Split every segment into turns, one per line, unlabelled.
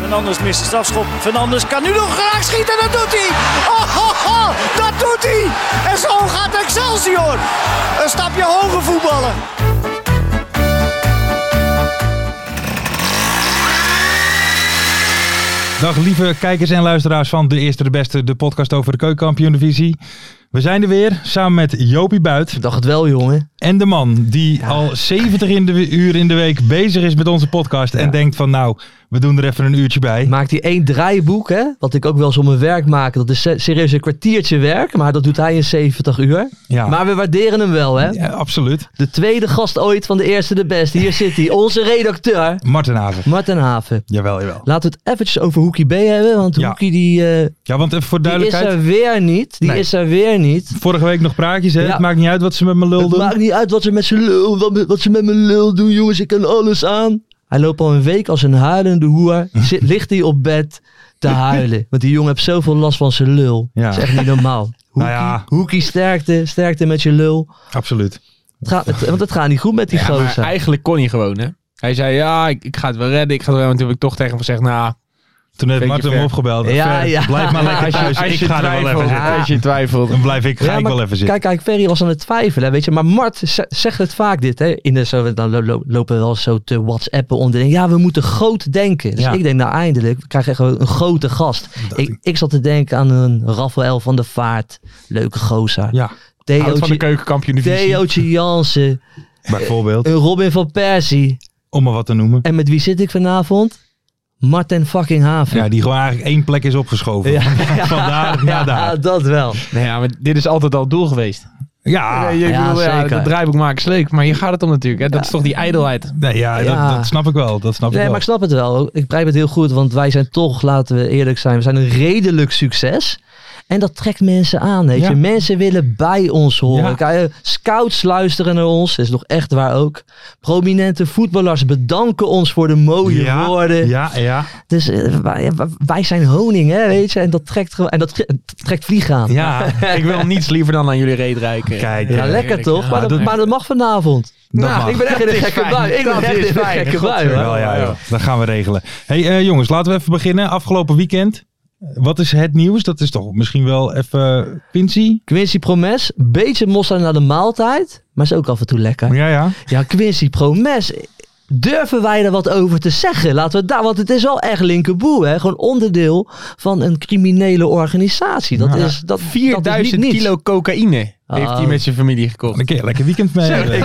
Fernandes mist de strafschop. Fernandes kan nu nog graag schieten. Dat doet hij. Oh, oh, oh, dat doet hij. En zo gaat Excelsior. Een stapje hoger voetballen.
Dag lieve kijkers en luisteraars van De Eerste de Beste, de podcast over de keukenkampioen-divisie. We zijn er weer, samen met Jopie Buit
dacht het wel, jongen.
en de man die al 70 in de, uur in de week bezig is met onze podcast en denkt van nou, we doen er even een uurtje bij.
Maakt hij één draaiboek, hè? Wat ik ook wel eens om mijn werk maak. Dat is se- serieus een kwartiertje werk, maar dat doet hij in 70 uur.
Ja.
Maar we waarderen hem wel, hè?
Ja, absoluut.
De tweede gast ooit van de eerste de beste. Hier zit hij, onze redacteur,
Martin Haven.
Martin Haven.
Jawel, jawel.
Laten we het eventjes over Hoekie B hebben, want
Ja.
Hoekie die, eh,
Ja, want even voor
die is
duidelijkheid.
er weer niet. Die
Nee.
is er weer niet.
Vorige week nog praatjes, hè?
Ja.
Het maakt niet uit wat ze met me lul
Het maakt
doen.
niet uit wat ze met z'n lul, wat, me- wat ze met mijn lul doen, jongens. Ik kan alles aan. Hij loopt al een week als een huilende hoer. Zit, ligt hij op bed te huilen. Want die jongen heeft zoveel last van zijn lul.
Ja.
Dat is echt niet normaal. Hoekie,
Nou ja.
hoekie sterkte, sterkte met je lul.
Absoluut.
Het gaat, het- want het gaat niet goed met die
Ja, maar
gozer.
eigenlijk kon hij gewoon, hè? Hij zei, ja, ik, ik ga het wel redden, ik ga het wel redden. En toen heb ik toch tegen hem gezegd, nou,
Toen heeft
Beetje
Martin
ver.
me opgebeld.
Ja,
Ver,
ja.
Blijf maar lekker
als je,
thuis.
als
Ik
je
ga er wel even
twijfelt,
zitten.
als je twijfelt.
Dan blijf ik, ga
Ja,
ik
maar
wel even zitten.
Kijk, kijk, Ferry was aan het twijfelen, weet je. Maar Mart ze- zegt het vaak dit, hè. In de, zo, dan lo- lo- lopen we wel zo te whatsappen om te denken, ja, we moeten groot denken. Dus
Ja.
ik denk, nou eindelijk, we krijgen gewoon een grote gast. Ik, ik zat te denken aan een Rafael van der Vaart, leuke gozer.
Ja,
Houdt van de
Theootje,
keukenkampioen divisie.
Theootje Jansen,
bijvoorbeeld.
een Robin van Persie.
Om maar wat te noemen.
En met wie zit ik vanavond? Martin fucking Haven.
Ja, die gewoon eigenlijk één plek is opgeschoven.
Ja.
Vandaar naar
Ja,
daar.
dat wel.
Nee, ja, maar dit is altijd al het doel geweest.
Ja,
Nee, je
ja,
bedoel, ja,
zeker.
dat draaiboek maken is leuk, maar hier gaat het om natuurlijk. Hè? Dat is toch die ijdelheid.
nee, ja,
Ja.
Dat, dat snap ik wel. Dat snap ik
Nee,
wel.
maar ik snap het wel. Ik begrijp het heel goed, want wij zijn toch, laten we eerlijk zijn, we zijn een redelijk succes. En dat trekt mensen aan, weet
Ja.
je. Mensen willen bij ons horen.
Ja.
Kijk, eh, Scouts luisteren naar ons, is nog echt waar ook. Prominente voetballers bedanken ons voor de mooie
ja,
woorden.
Ja, ja.
Dus eh, wij, wij zijn honing, hè, weet je. En dat trekt, gewoon- en dat, dat trekt vliegen aan.
ja.
ik wil niets liever dan aan jullie reet reiken.
Kijk, eh,
Ja,
ja,
lekker toch? maar, dat, maar dat mag vanavond.
Dat
Nou,
mag.
ik ben echt in een
is
gekke
fijn.
bui. Ik ben
Dat
echt
is
in een
fijn.
gekke bui.
Godver-
hoor.
Wel, ja,
Ja.
joh. Dat gaan we regelen. hey, eh, jongens, laten we even beginnen. Afgelopen weekend. Wat is het nieuws? Dat is toch misschien wel even Quincy?
Quincy Promes, beetje mosterd naar de maaltijd, maar is ook af en toe lekker.
Ja, ja.
Ja, Quincy Promes, durven wij er wat over te zeggen? Laten we het daar, want het is wel echt linkerboe, hè? Gewoon onderdeel van een criminele organisatie. Dat
Ja.
is dat dat is
4000
niet niets.
kilo cocaïne heeft hij
Oh.
met zijn familie gekocht.
Dan kun je lekker weekend mee hebben.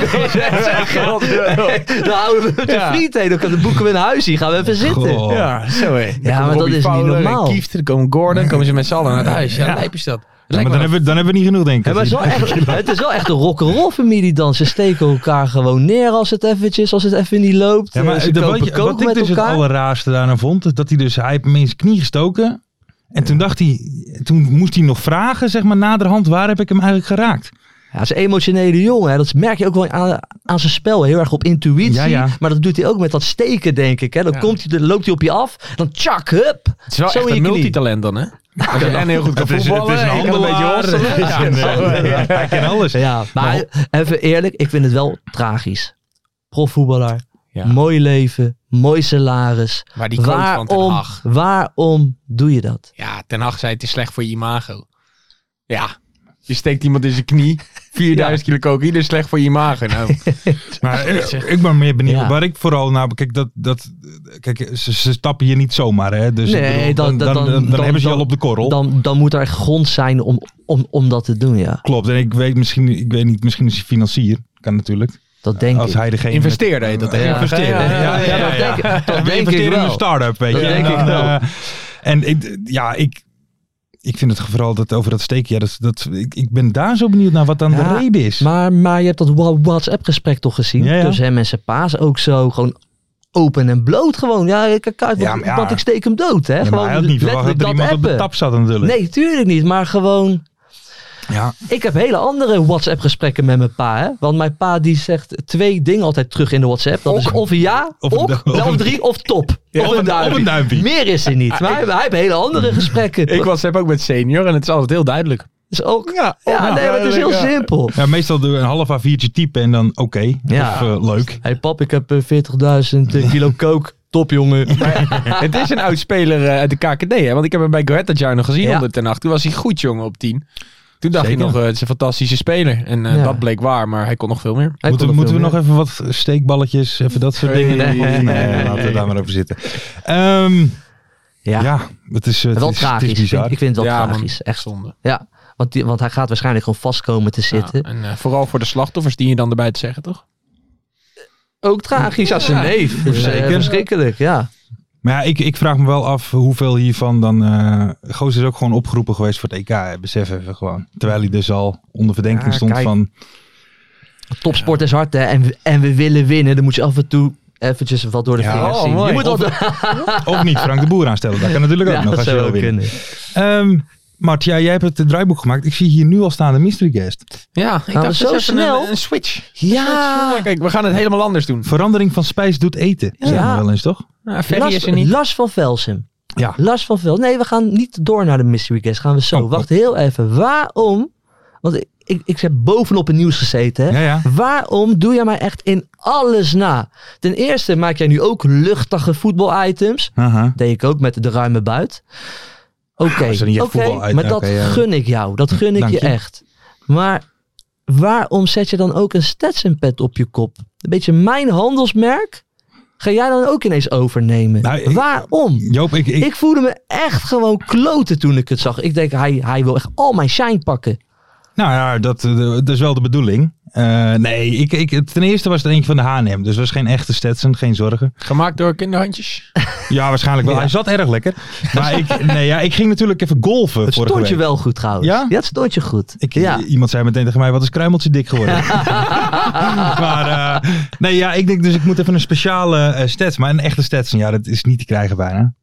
Dan houden we de
Ja.
friet heen, dan kunnen- boeken we een huisje, gaan we even zitten.
Goh.
Ja, zo hé. Dan
maar
komt
dat
Robbie
is niet
Fowler en
normaal.
Kieft, dan komen Gordon, komen ze met z'n allen naar het huis. Ja, lijp is dat.
Ja, maar
Lijkt
dan
me
hebben, we, dan hebben we niet genoeg, denk ik.
Ja, maar het, is wel echt, het is wel echt een rock'n'roll familie dan. Ze steken elkaar gewoon neer als het eventjes, als het even niet loopt.
Ja, maar
Ze
de-
kopen
wat, je-
coke
wat ik
met
dus
elkaar.
het allerraarste daarna vond, is dat hij dus, hij heeft hem in zijn knie gestoken. En toen dacht hij, toen moest hij nog vragen, zeg maar, naderhand, waar heb ik hem eigenlijk geraakt?
Ja, hij is een emotionele jongen. Hè. Dat merk je ook wel aan, aan zijn spel. Heel erg op intuïtie.
Ja, ja.
Maar dat doet hij ook met dat steken, denk ik. Hè. Dan,
Ja.
komt hij, dan loopt hij op je af. Dan tjak, hup.
Het is wel
Zo
echt
in je
een
knie.
multitalent dan, hè? Hij kan En heel goed kan
Het is- het is
voetballen,
een
hij kan een beetje
handelaar.
hosselen.
Ja, nee, nee, Hij kent alles.
Ja, maar even eerlijk. Ik vind het wel tragisch. Profvoetballer.
Ja.
Mooi leven. Mooi salaris.
Maar die coach van Ten
waarom,
Hag.
waarom doe je dat?
Ja, Ten Hag zei het is slecht voor je imago. Ja, je steekt iemand in zijn knie. 4000 kilo cocaïne is slecht voor je imago. Nou,
Maar ik, ik ben meer benieuwd
Ja.
waar ik vooral naar... Kijk, dat, dat, kijk ze, ze stappen hier niet zomaar, hè? Dus ik
Nee,
bedoel, dan, dan, dan,
dan-
hebben ze je
dan-
al op de korrel.
Dan, dan moet er echt grond zijn om, om, om dat te doen, ja.
Klopt. En ik weet misschien, ik weet niet, misschien is hij financier. Kan natuurlijk.
Dat denk
Als
ik.
hij degene...
Investeerde heet dat tegenwoordig.
Investeerde.
Ja, ja, ja.
ja,
dat
ja.
denk ik. Dat
We
denk ik
investeren in een
wel.
start-up, weet
Dat
je.
denk
En dan,
ik wel.
eh, en ik, ja, ik, ik vind het vooral dat over dat steekje. Ja, dat, dat, ik, ik ben daar zo benieuwd naar wat dan
Ja,
de reden is.
Maar, maar je hebt dat wa- WhatsApp-gesprek toch gezien?
Ja, ja.
Tussen hem en zijn paas ook zo gewoon open en bloot gewoon. Ja, ik kijk, want,
Ja, maar ja.
want ik steek hem dood, hè?
Ja, maar
gewoon
hij had niet verwacht dat
letterlijk
er
dat
iemand op de
appen.
tap zat natuurlijk.
Nee, tuurlijk niet. Maar gewoon,
Ja,
ik heb hele andere WhatsApp-gesprekken met mijn pa, hè? Want mijn pa die zegt twee dingen altijd terug in de WhatsApp. Dat is of een ja,
Of
of,
een
ok,
du-
of,
of een-
drie, of top.
Ja,
of,
of een-
een duimpje.
of een duimpje.
Meer is er niet. Maar hij, hij heeft hele andere gesprekken.
Ik WhatsApp ook met senior en het is altijd heel duidelijk.
Dus ook,
Ja,
ja, nee, maar het is heel simpel.
ja meestal doe je een half A4'tje typen en dan oké.
Ja.
Of eh, leuk.
Hé hey pap, ik heb eh, 40.000 kilo coke. Top jongen.
Het is een oud speler eh, uit de KKD, hè? want ik heb hem bij Goethe nog gezien
Ja.
onder ten acht. Toen was hij goed, jongen, op 10. Toen dacht
Zeker.
ik nog, eh, het is een fantastische speler. En eh,
Ja.
dat bleek waar, maar hij kon nog veel meer.
Hij
moeten
kon
moeten we
veel
nog
meer.
even wat steekballetjes, even dat soort
Nee,
dingen?
nee,
Of-
nee.
laten we daar maar over zitten. Ehm, ja.
Ja,
het is, het
wel
is, het is
tragisch. Ik vind-
bizar.
ik vind het wel
Ja, man.
tragisch. Echt.
zonde.
Ja, want, die, want hij gaat waarschijnlijk gewoon vast komen te
Ja,
zitten.
en eh, vooral voor de slachtoffers die je dan erbij te zeggen, toch?
Ook tragisch als
Ja.
een neef. Dus, eh,
Zeker.
verschrikkelijk, ja.
Maar ja, ik, ik vraag me wel af hoeveel hiervan dan... eh Goos is ook gewoon opgeroepen geweest voor het EK, hè, besef even gewoon. Terwijl hij dus al onder verdenking
Ja,
stond
kijk.
van...
Topsport is hard hè. En, en we willen winnen. Dan moet je af en toe eventjes wat door de
Ja.
vingers
Oh,
zien.
mooi.
Je moet
Of-
dat,
Of niet Frank de Boer aanstellen, dat kan natuurlijk ook
ja,
nog
dat
als je
zou
wil
wel
winnen.
kunnen.
Ehm Mart, ja, jij hebt het draaiboek gemaakt. Ik zie hier nu al staan de mystery guest.
Ja, ik
we zo
dat is even
snel?
Een, een switch.
Ja.
Kijk, we gaan het helemaal anders doen.
Verandering van spijs doet eten. Ja.
Ja.
wel eens, toch?
Ja, Ferry
Las,
is er niet.
Lars van Velsen.
Ja.
Lars van Velsen. Nee, we gaan niet door naar de mystery guest. Gaan we zo.
Oh,
Wacht heel even. Waarom? Want ik, ik, ik heb bovenop het nieuws gezeten. Hè?
Ja, ja.
Waarom doe jij mij echt in alles na? Ten eerste maak jij nu ook luchtige voetbalitems.
Aha.
Deed ik ook met de ruime buit. Oké,
dat is dan niet echt
oké,
voetbaluit-
maar
oké,
dat
ja. Hm,
gun ik jou. Dat gun ik
Dank
je
je.
echt. Maar waarom zet je dan ook een Stetson pet op je kop? Een beetje mijn handelsmerk ga jij dan ook ineens overnemen.
Nou, ik-
waarom?
Joop, ik, ik,
Ik voelde me echt gewoon kloten toen ik het zag. Ik denk, hij, hij wil echt al mijn shine pakken.
Nou ja, dat, eh, dat is wel de bedoeling. Eh, nee, ik, ik, ten eerste was het eentje van de H&M. Dus was geen echte Stetson, geen zorgen.
Gemaakt door kinderhandjes.
Ja, waarschijnlijk wel.
Ja.
Hij zat erg lekker. Maar ik, nee, ja, ik ging natuurlijk even golven
Het
vorige
stond je
week.
wel goed trouwens.
Ja?
Ja? het stond je goed.
Ik,
ja.
Iemand zei meteen tegen mij, wat is kruimeltje dik geworden? maar eh, nee, ja, ik denk dus ik moet even een speciale eh, stats. Maar een echte Stetson, ja, dat is niet te krijgen bijna.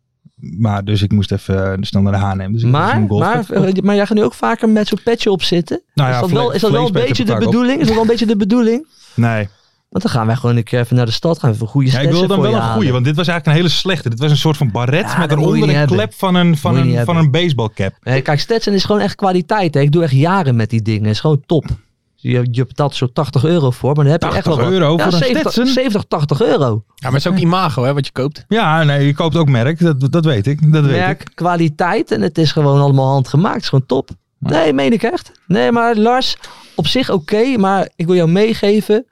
Maar dus ik moest even eh, snel naar de H&M. Dus ik heb
Maar,
zo'n golf-
maar, eh, maar jij gaat nu ook vaker met zo'n petje op zitten.
Nou ja,
is dat
vle-
wel, is dat wel een
vleespetje
beetje de
op elkaar op.
bedoeling? Is dat wel een beetje de bedoeling?
Nee.
Want dan gaan wij gewoon een keer even naar de stad gaan. Even een goede
Ja, ik
stetsen
wil dan
voor
wel
je
een
halen.
goede, want dit was eigenlijk een hele slechte. Dit was een soort van baret
Ja,
met
dat moet je
eronder
niet
een
hebben.
klep van een, van
Moet je niet
een, van
hebben.
een baseballcap.
Nee, kijk, Stetson is gewoon echt kwaliteit. Hè. Ik doe echt jaren met die dingen. Het is gewoon top. Je, je betaalt zo'n 80 euro voor, maar dan heb je echt wel
80
wat.
euro
ja,
voor een
70,
Stetson?
70, 80 euro.
Ja, maar het is ook imago, hè, wat je koopt.
Ja, nee, je koopt ook merk, dat, dat weet ik. Dat weet ik.
Merk, kwaliteit en het is gewoon allemaal handgemaakt. Het is gewoon top. Nee, meen ik echt. Nee, maar Lars, op zich oké, maar ik wil jou meegeven.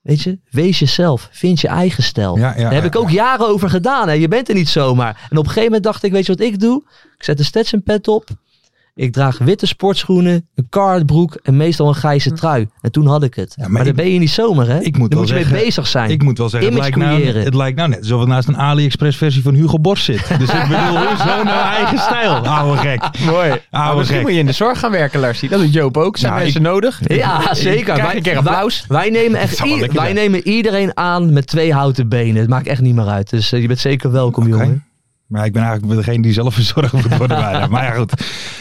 Weet je, wees jezelf. Vind je eigen stijl.
Ja, ja,
Daar heb
ja,
ik ook jaren over gedaan. Hè. Je bent er niet zomaar. En op een gegeven moment dacht ik, weet je wat ik doe? Ik zet een Stetson pet op. Ik draag witte sportschoenen, een cardbroek en meestal een grijze trui. En toen had ik het.
maar
maar
ik-
dan ben je niet zomaar, hè?
ik moet
dan
wel
moet je
zeggen,
mee bezig zijn.
Ik moet wel zeggen, het
Image
lijkt, nou,
creëren.
het lijkt nou net alsof het naast een AliExpress versie van Hugo Borst zit. Dus ik bedoel, hoezo nou eigen stijl? Oude gek.
Mooi.
wat
maar misschien
gek.
moet je in de zorg gaan werken, Larsie. Dat doet Joop ook. Zijn
Nou,
mensen nodig?
Ja, zeker.
Krijg een keer applaus.
Wij, wij nemen, echt
zou wel
i-
lekker
wij
zijn.
nemen iedereen aan met twee houten benen. Het maakt echt niet meer uit. Dus eh, je bent zeker welkom,
Oké.
jongen.
Maar ik ben eigenlijk degene die zelf verzorgd moet worden bijna. Maar ja, goed.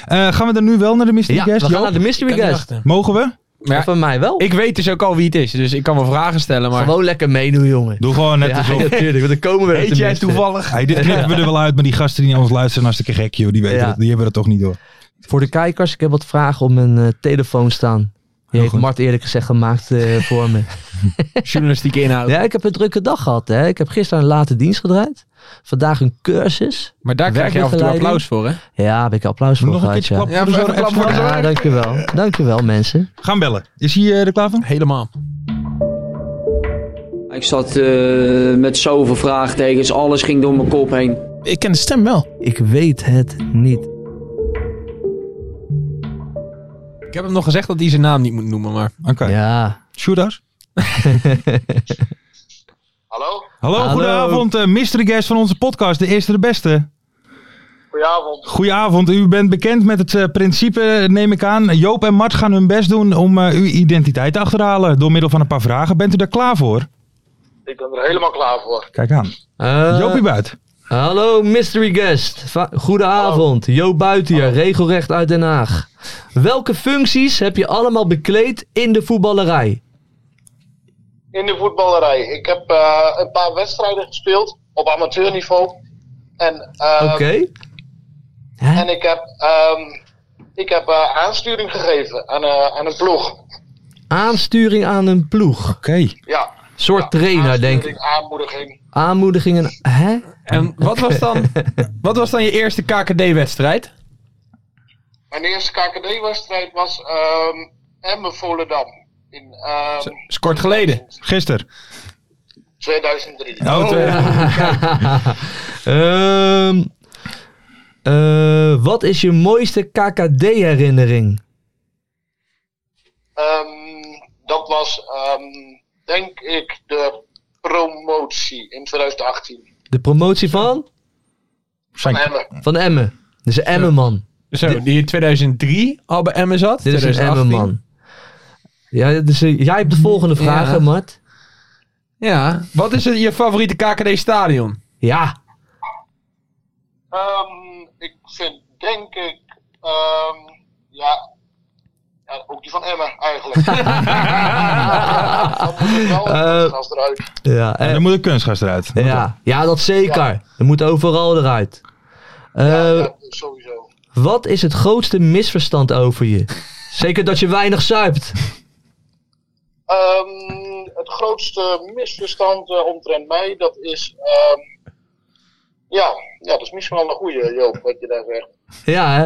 Eh, gaan we dan nu wel naar de mystery
Ja, we
guest,
gaan
Joop?
Ah,
naar de mystery guest.
Mogen we?
Maar ja,
Van mij wel.
ik weet dus ook al wie het is, dus ik kan wel vragen stellen, maar...
Gewoon lekker meedoen, jongen.
Doe gewoon net
Ja,
alsof.
natuurlijk. Want dan komen we er
Weet jij
tenminste.
toevallig?
Hey, dit knippen we er wel uit, maar die gasten die naar ons luisteren, hartstikke gek, joh. Die, weten
Ja.
dat, die hebben dat toch niet door.
Voor de kijkers, ik heb wat vragen op mijn eh, telefoon staan. Die heeft
goed.
Mart eerlijk gezegd gemaakt eh, voor me.
Journalistieke inhoud.
Ja, ik heb een drukke dag gehad. Hè. Ik heb gisteren een late dienst gedraaid. Vandaag een cursus.
Maar daar krijg je af en toe
Werkbegeleiding.
applaus voor, hè?
Ja, daar heb ik applaus voor
Nog een
gehad.
keertje
Ja.
klap voor de
Ja,
zorg.
even klap voor de
ja, dankjewel. Dankjewel, mensen.
Gaan bellen. Is hij eh, er klaar van?
Helemaal.
Ik zat eh, met zoveel vraagtekens, alles ging door mijn kop heen.
Ik ken de stem wel.
Ik weet het niet.
Ik heb hem nog gezegd dat hij zijn naam niet moet noemen, maar...
Oké.
Ja.
Shooters?
Hallo?
Hallo,
Hallo.
goedenavond. eh, mystery guest van onze podcast, de eerste de beste.
Goedenavond.
Goedenavond, u bent bekend met het eh, principe, eh, neem ik aan. Joop en Mart gaan hun best doen om eh, uw identiteit te achterhalen door middel van een paar vragen. Bent u daar klaar voor?
Ik ben er helemaal klaar voor.
Kijk aan.
Eh,
Joopie buiten.
hallo mystery guest. Va- Goedenavond. Joop Buiten hier, regelrecht uit Den Haag. Welke functies heb je allemaal bekleed in de voetballerij?
In de voetballerij. Ik heb eh, een paar wedstrijden gespeeld op amateurniveau. En, eh,
Oké. Hè?
en ik heb, ehm, ik heb eh, aansturing gegeven aan, eh, aan een ploeg.
Aansturing aan een ploeg.
Oké.
Ja.
soort
Ja,
trainer, denk ik.
aansturing, Aanmoediging.
Aanmoedigingen. Hè?
En wat was dan, wat was dan je eerste KKD-wedstrijd?
Mijn eerste KKD-wedstrijd was ehm Emmen Volendam. In ehm,
Is kort geleden.
Gisteren.
2003.
Oh,
Nou,
eh,
Ehm, eh, wat is je mooiste KKD-herinnering?
Ehm, dat was, ehm, denk ik, de promotie in 2018.
De promotie van?
Van Emmen.
Van Emmen. Dus een Emmenman.
Zo, die in 2003 al bij Emmen zat.
Dit is een
2018.
Emmenman. Ja, dus eh, jij hebt de volgende vraag,
Ja.
hè, Mart.
Ja. Wat is het, je favoriete KKD-stadion?
Ja.
Ehm, ik vind, denk ik, ehm, ja, ja, ook die van Emmen eigenlijk. Dan moet ik wel
Eh,
als eruit.
Ja, eh,
dan moet de kunstgast eruit.
ja. ja dat zeker. Er moet overal eruit. Eh,
Ja, ja, sowieso.
Wat is het grootste misverstand over je? Zeker dat je weinig zuipt.
Ehm, het grootste misverstand eh, omtrent mij, dat is, ehm, ja, ja, dat is misschien wel een goede Joop, wat je daar zegt.
Ja, hè?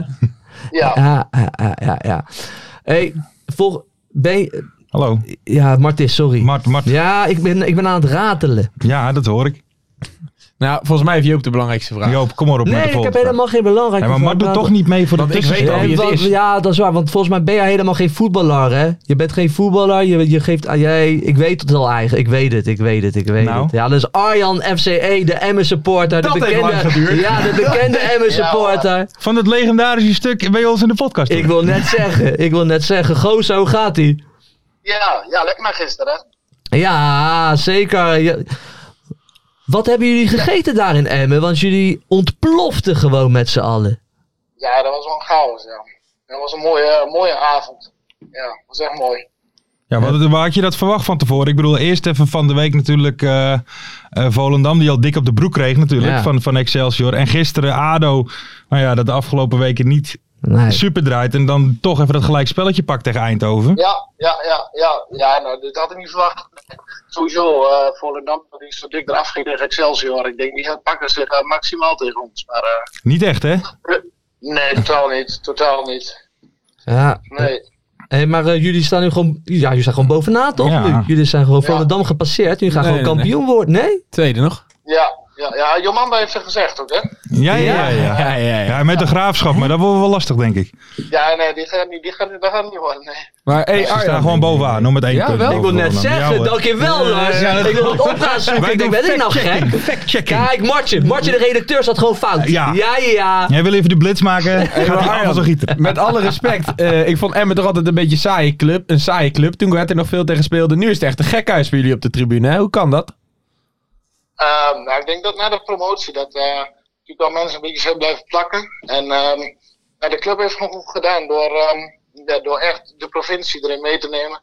Ja,
Ja, ja, ja, ja. ja. Hey, vol, ben je-
Hallo.
ja, Martis, sorry.
Mart, Mart. Ja.
ja, ik ben, ik ben aan het ratelen.
dat hoor ik.
Nou, volgens mij heeft Joop de belangrijkste vraag.
Joop, kom maar op met
Nee,
de
ik heb
volgende.
helemaal geen belangrijk.
Ja, maar Mart doet toch niet mee voor de
Want ik weet
tussenstand.
al wie het is.
Ja, dat is waar. Want volgens mij ben jij helemaal geen voetballer, hè? Je bent geen voetballer. Je, je geeft aan jij... Ik weet het al eigenlijk. Ik weet het, ik weet het, ik weet
Nou.
het. Ja, dat is Arjan FCE, de Emmen supporter.
Dat
de
heeft
bekende,
lang geduurd.
Ja, de bekende Emmen supporter.
Van het legendarische stuk bij ons in de podcast.
Ik wil net zeggen, ik wil net zeggen. Gozo, hoe gaat ie?
ja, ja, lekker maar gisteren. hè.
Ja, zeker. Ja. Wat hebben jullie gegeten daar in Emmen? Want jullie ontploften gewoon met z'n allen.
Ja, dat was wel een chaos, ja. Dat was een mooie, mooie avond. Ja, was echt mooi.
Ja, wat, waar had je dat verwacht van tevoren? Ik bedoel, eerst even van de week natuurlijk eh, eh, Volendam, die al dik op de broek kreeg natuurlijk,
Ja.
van, van Excelsior. En gisteren ADO, nou ja, dat de afgelopen weken niet
Nee.
super draait. En dan toch even dat gelijkspelletje pakt tegen Eindhoven.
Ja, ja, ja, ja. Ja, nou, dit had ik niet verwacht. Sowieso, eh Volendam, die is zo dik eraf ging tegen Excelsior. Ik denk, die gaat pakken zich eh, maximaal tegen ons. Maar eh,
Niet echt, hè?
nee, totaal niet. Totaal niet.
Ja.
Nee.
Hé, maar eh, jullie staan nu gewoon, ja, jullie staan gewoon bovenaan, toch?
Ja.
Nu? Jullie zijn gewoon
Ja.
Volendam gepasseerd. Jullie gaan
Nee,
gewoon
nee,
kampioen worden. Nee?
Tweede nog.
Ja, ja, ja. Jomanda heeft het gezegd ook, hè?
Ja, ja, ja. ja.
ja, ja, ja.
Ja, met de graafschap, maar dat wordt wel lastig, denk ik. Ze
Ja, nee, die gaat niet, die gaat, die gaat niet worden. Nee.
Maar hey,
staan gewoon bovenaan, hoor, met één
Ja,
punt.
wel.
Ik wil net zeggen,
dat
dankjewel Lars.
ja, dat-
ik wil het op gaan zoeken.
Wij
Ik denk,
doen
ben ik nou gek?
Fact-checking.
Kijk, Martje. Martje, de redacteur, zat gewoon fout.
Ja.
ja, ja.
Jij wil even de blitz maken, gaat hij
Arjan,
af als een gieter.
Met alle respect, eh, ik vond Emmen toch altijd een beetje een saaie club. Een saaie club. Toen werd er nog veel tegen speelde. Nu is het echt een gekhuis voor jullie op de tribune. Hè? Hoe kan dat?
Ehm, nou, ik denk dat na de promotie dat eh, natuurlijk wel mensen een beetje zijn blijven plakken. En ehm, ja, de club heeft gewoon goed gedaan door, ehm, ja, door echt de provincie erin mee te nemen.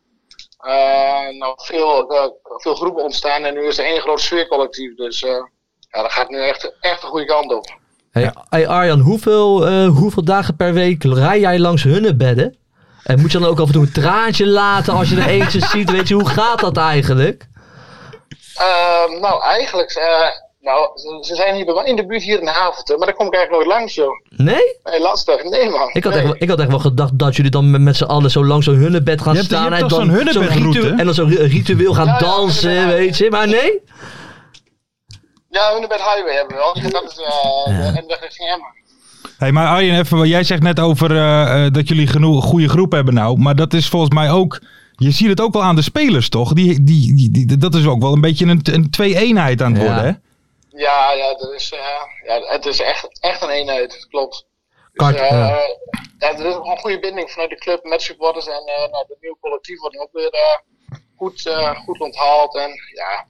Eh, nou, veel, eh, veel groepen ontstaan en nu is er één groot sfeercollectief. Dus eh, ja, dat gaat nu echt, echt de goede kant op.
Hey, hey, Arjan, hoeveel, eh, hoeveel dagen per week rij jij langs hunne bedden? En moet je dan ook af en toe een traantje laten als je er eentje ziet? Weet je, hoe gaat dat eigenlijk?
Ehm, nou, eigenlijk, eh, nou, ze- ze zijn hier bij mij in de buurt hier in Havelte, maar daar kom ik eigenlijk nooit langs, joh.
Nee?
Nee, lastig. Nee, man.
Ik had,
Nee.
echt, wel- ik had echt wel gedacht dat jullie dan met, met z'n allen zo lang zo'n hunnebed gaan
Je hebt- je
staan.
hebt
en,
toch
dan
zo'n hunnebedroute?
ritueel- en dan zo'n ri- ritueel gaan
Ja, ja,
dansen,
ja, ja.
weet je. Maar nee?
Ja, Hunebed Highway hebben we wel. En dat is eh de N-weg richting Emmen.
Hey, maar Arjen, even, wat jij zegt net over eh, eh, dat jullie genoeg goede groep hebben nou. Maar dat is volgens mij ook Je ziet het ook wel aan de spelers, toch? Die, die, die, die- dat is ook wel een beetje een, een twee-eenheid aan het
Ja.
worden, hè?
Ja, ja, er is, eh, ja het is echt, echt een eenheid, klopt.
Kart,
Dus, eh,
ja.
ja, er is een goede binding vanuit de club met supporters en eh nou, het nieuwe collectief wordt ook weer eh, goed, eh, goed onthaald. En, ja.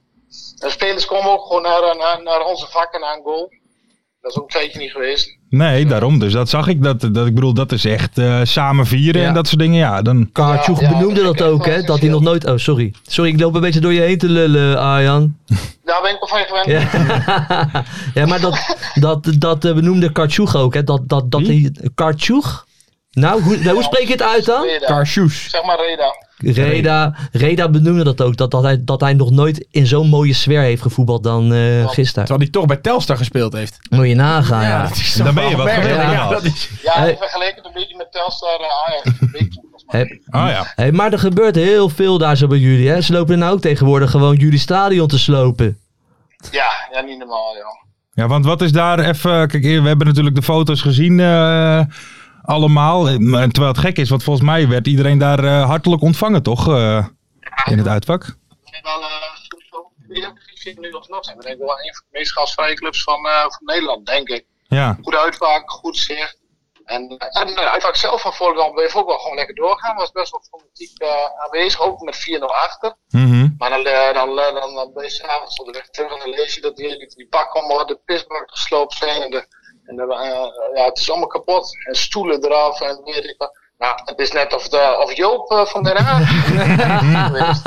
de spelers komen ook gewoon naar, eh, naar, naar onze vakken, naar een goal. Dat is ook een tijdje niet geweest.
Nee, daarom. Dus dat zag ik. Dat, dat, ik bedoel, dat is echt eh, samen vieren
Ja.
en dat soort dingen. Ja, dan...
Kaartjoeg
Ja, ja,
benoemde
dat
dat
is echt
ook,
wel
hè? Dat hij
essentieel.
nog nooit... Oh, sorry. Sorry, ik loop een beetje door je heen te lullen, Arjan.
Daar ben ik wel van gewend.
Ja, ja maar dat, dat, dat eh, benoemde Kartjoeg ook, hè? Dat, dat, dat hij... Kartjoeg? Nou, hoe, nou, hoe spreek je het uit dan?
Reda.
Karsjoes.
Zeg maar Reda.
Reda, Reda benoemde dat ook. Dat, dat, hij, dat hij nog nooit in zo'n mooie sfeer heeft gevoetbald dan eh, gisteren.
Terwijl hij toch bij Telstar gespeeld heeft.
Moet je nagaan, ja.
is
Dan ben je
wel
wat gewend.
merkelijk.
Ja,
Ja, dat is...
Ja,
Hey.
ik vergelijk het een beetje met Telstar eh, Ajax. Een beetje, volgens mij.
Hey,
Ah ja.
hey, maar er gebeurt heel veel daar zo bij jullie, hè? Ze lopen nou ook tegenwoordig gewoon jullie stadion te slopen.
Ja, ja, niet normaal, joh.
Ja, want wat is daar even... Kijk, we hebben natuurlijk de foto's gezien eh, allemaal. En, maar terwijl het gek is, want volgens mij werd iedereen daar eh, hartelijk ontvangen, toch? eh, in het uitvak.
zijn wel eh, sowieso- ik zie het nu alsnog zijn. We denk wel een van de meest gastvrije clubs van, eh, van Nederland, denk ik.
Ja.
Goed uitvaak, goed zicht. En, eh, en de uitvaak zelf van Volendam bleef ook wel gewoon lekker doorgaan. Was best wel fanatiek eh, aanwezig, ook met 4-0 achter.
Mhm.
Maar dan, eh, dan, eh, dan, dan ben je s'avonds op de weg terug en dan lees je dat die, die, die bakken allemaal de pisbak gesloopt zijn. En, de, en de, eh, ja, het is allemaal kapot. En stoelen eraf en weet ik wat. Nou, het is net of, de, of Joop eh, van Den Haag. geweest.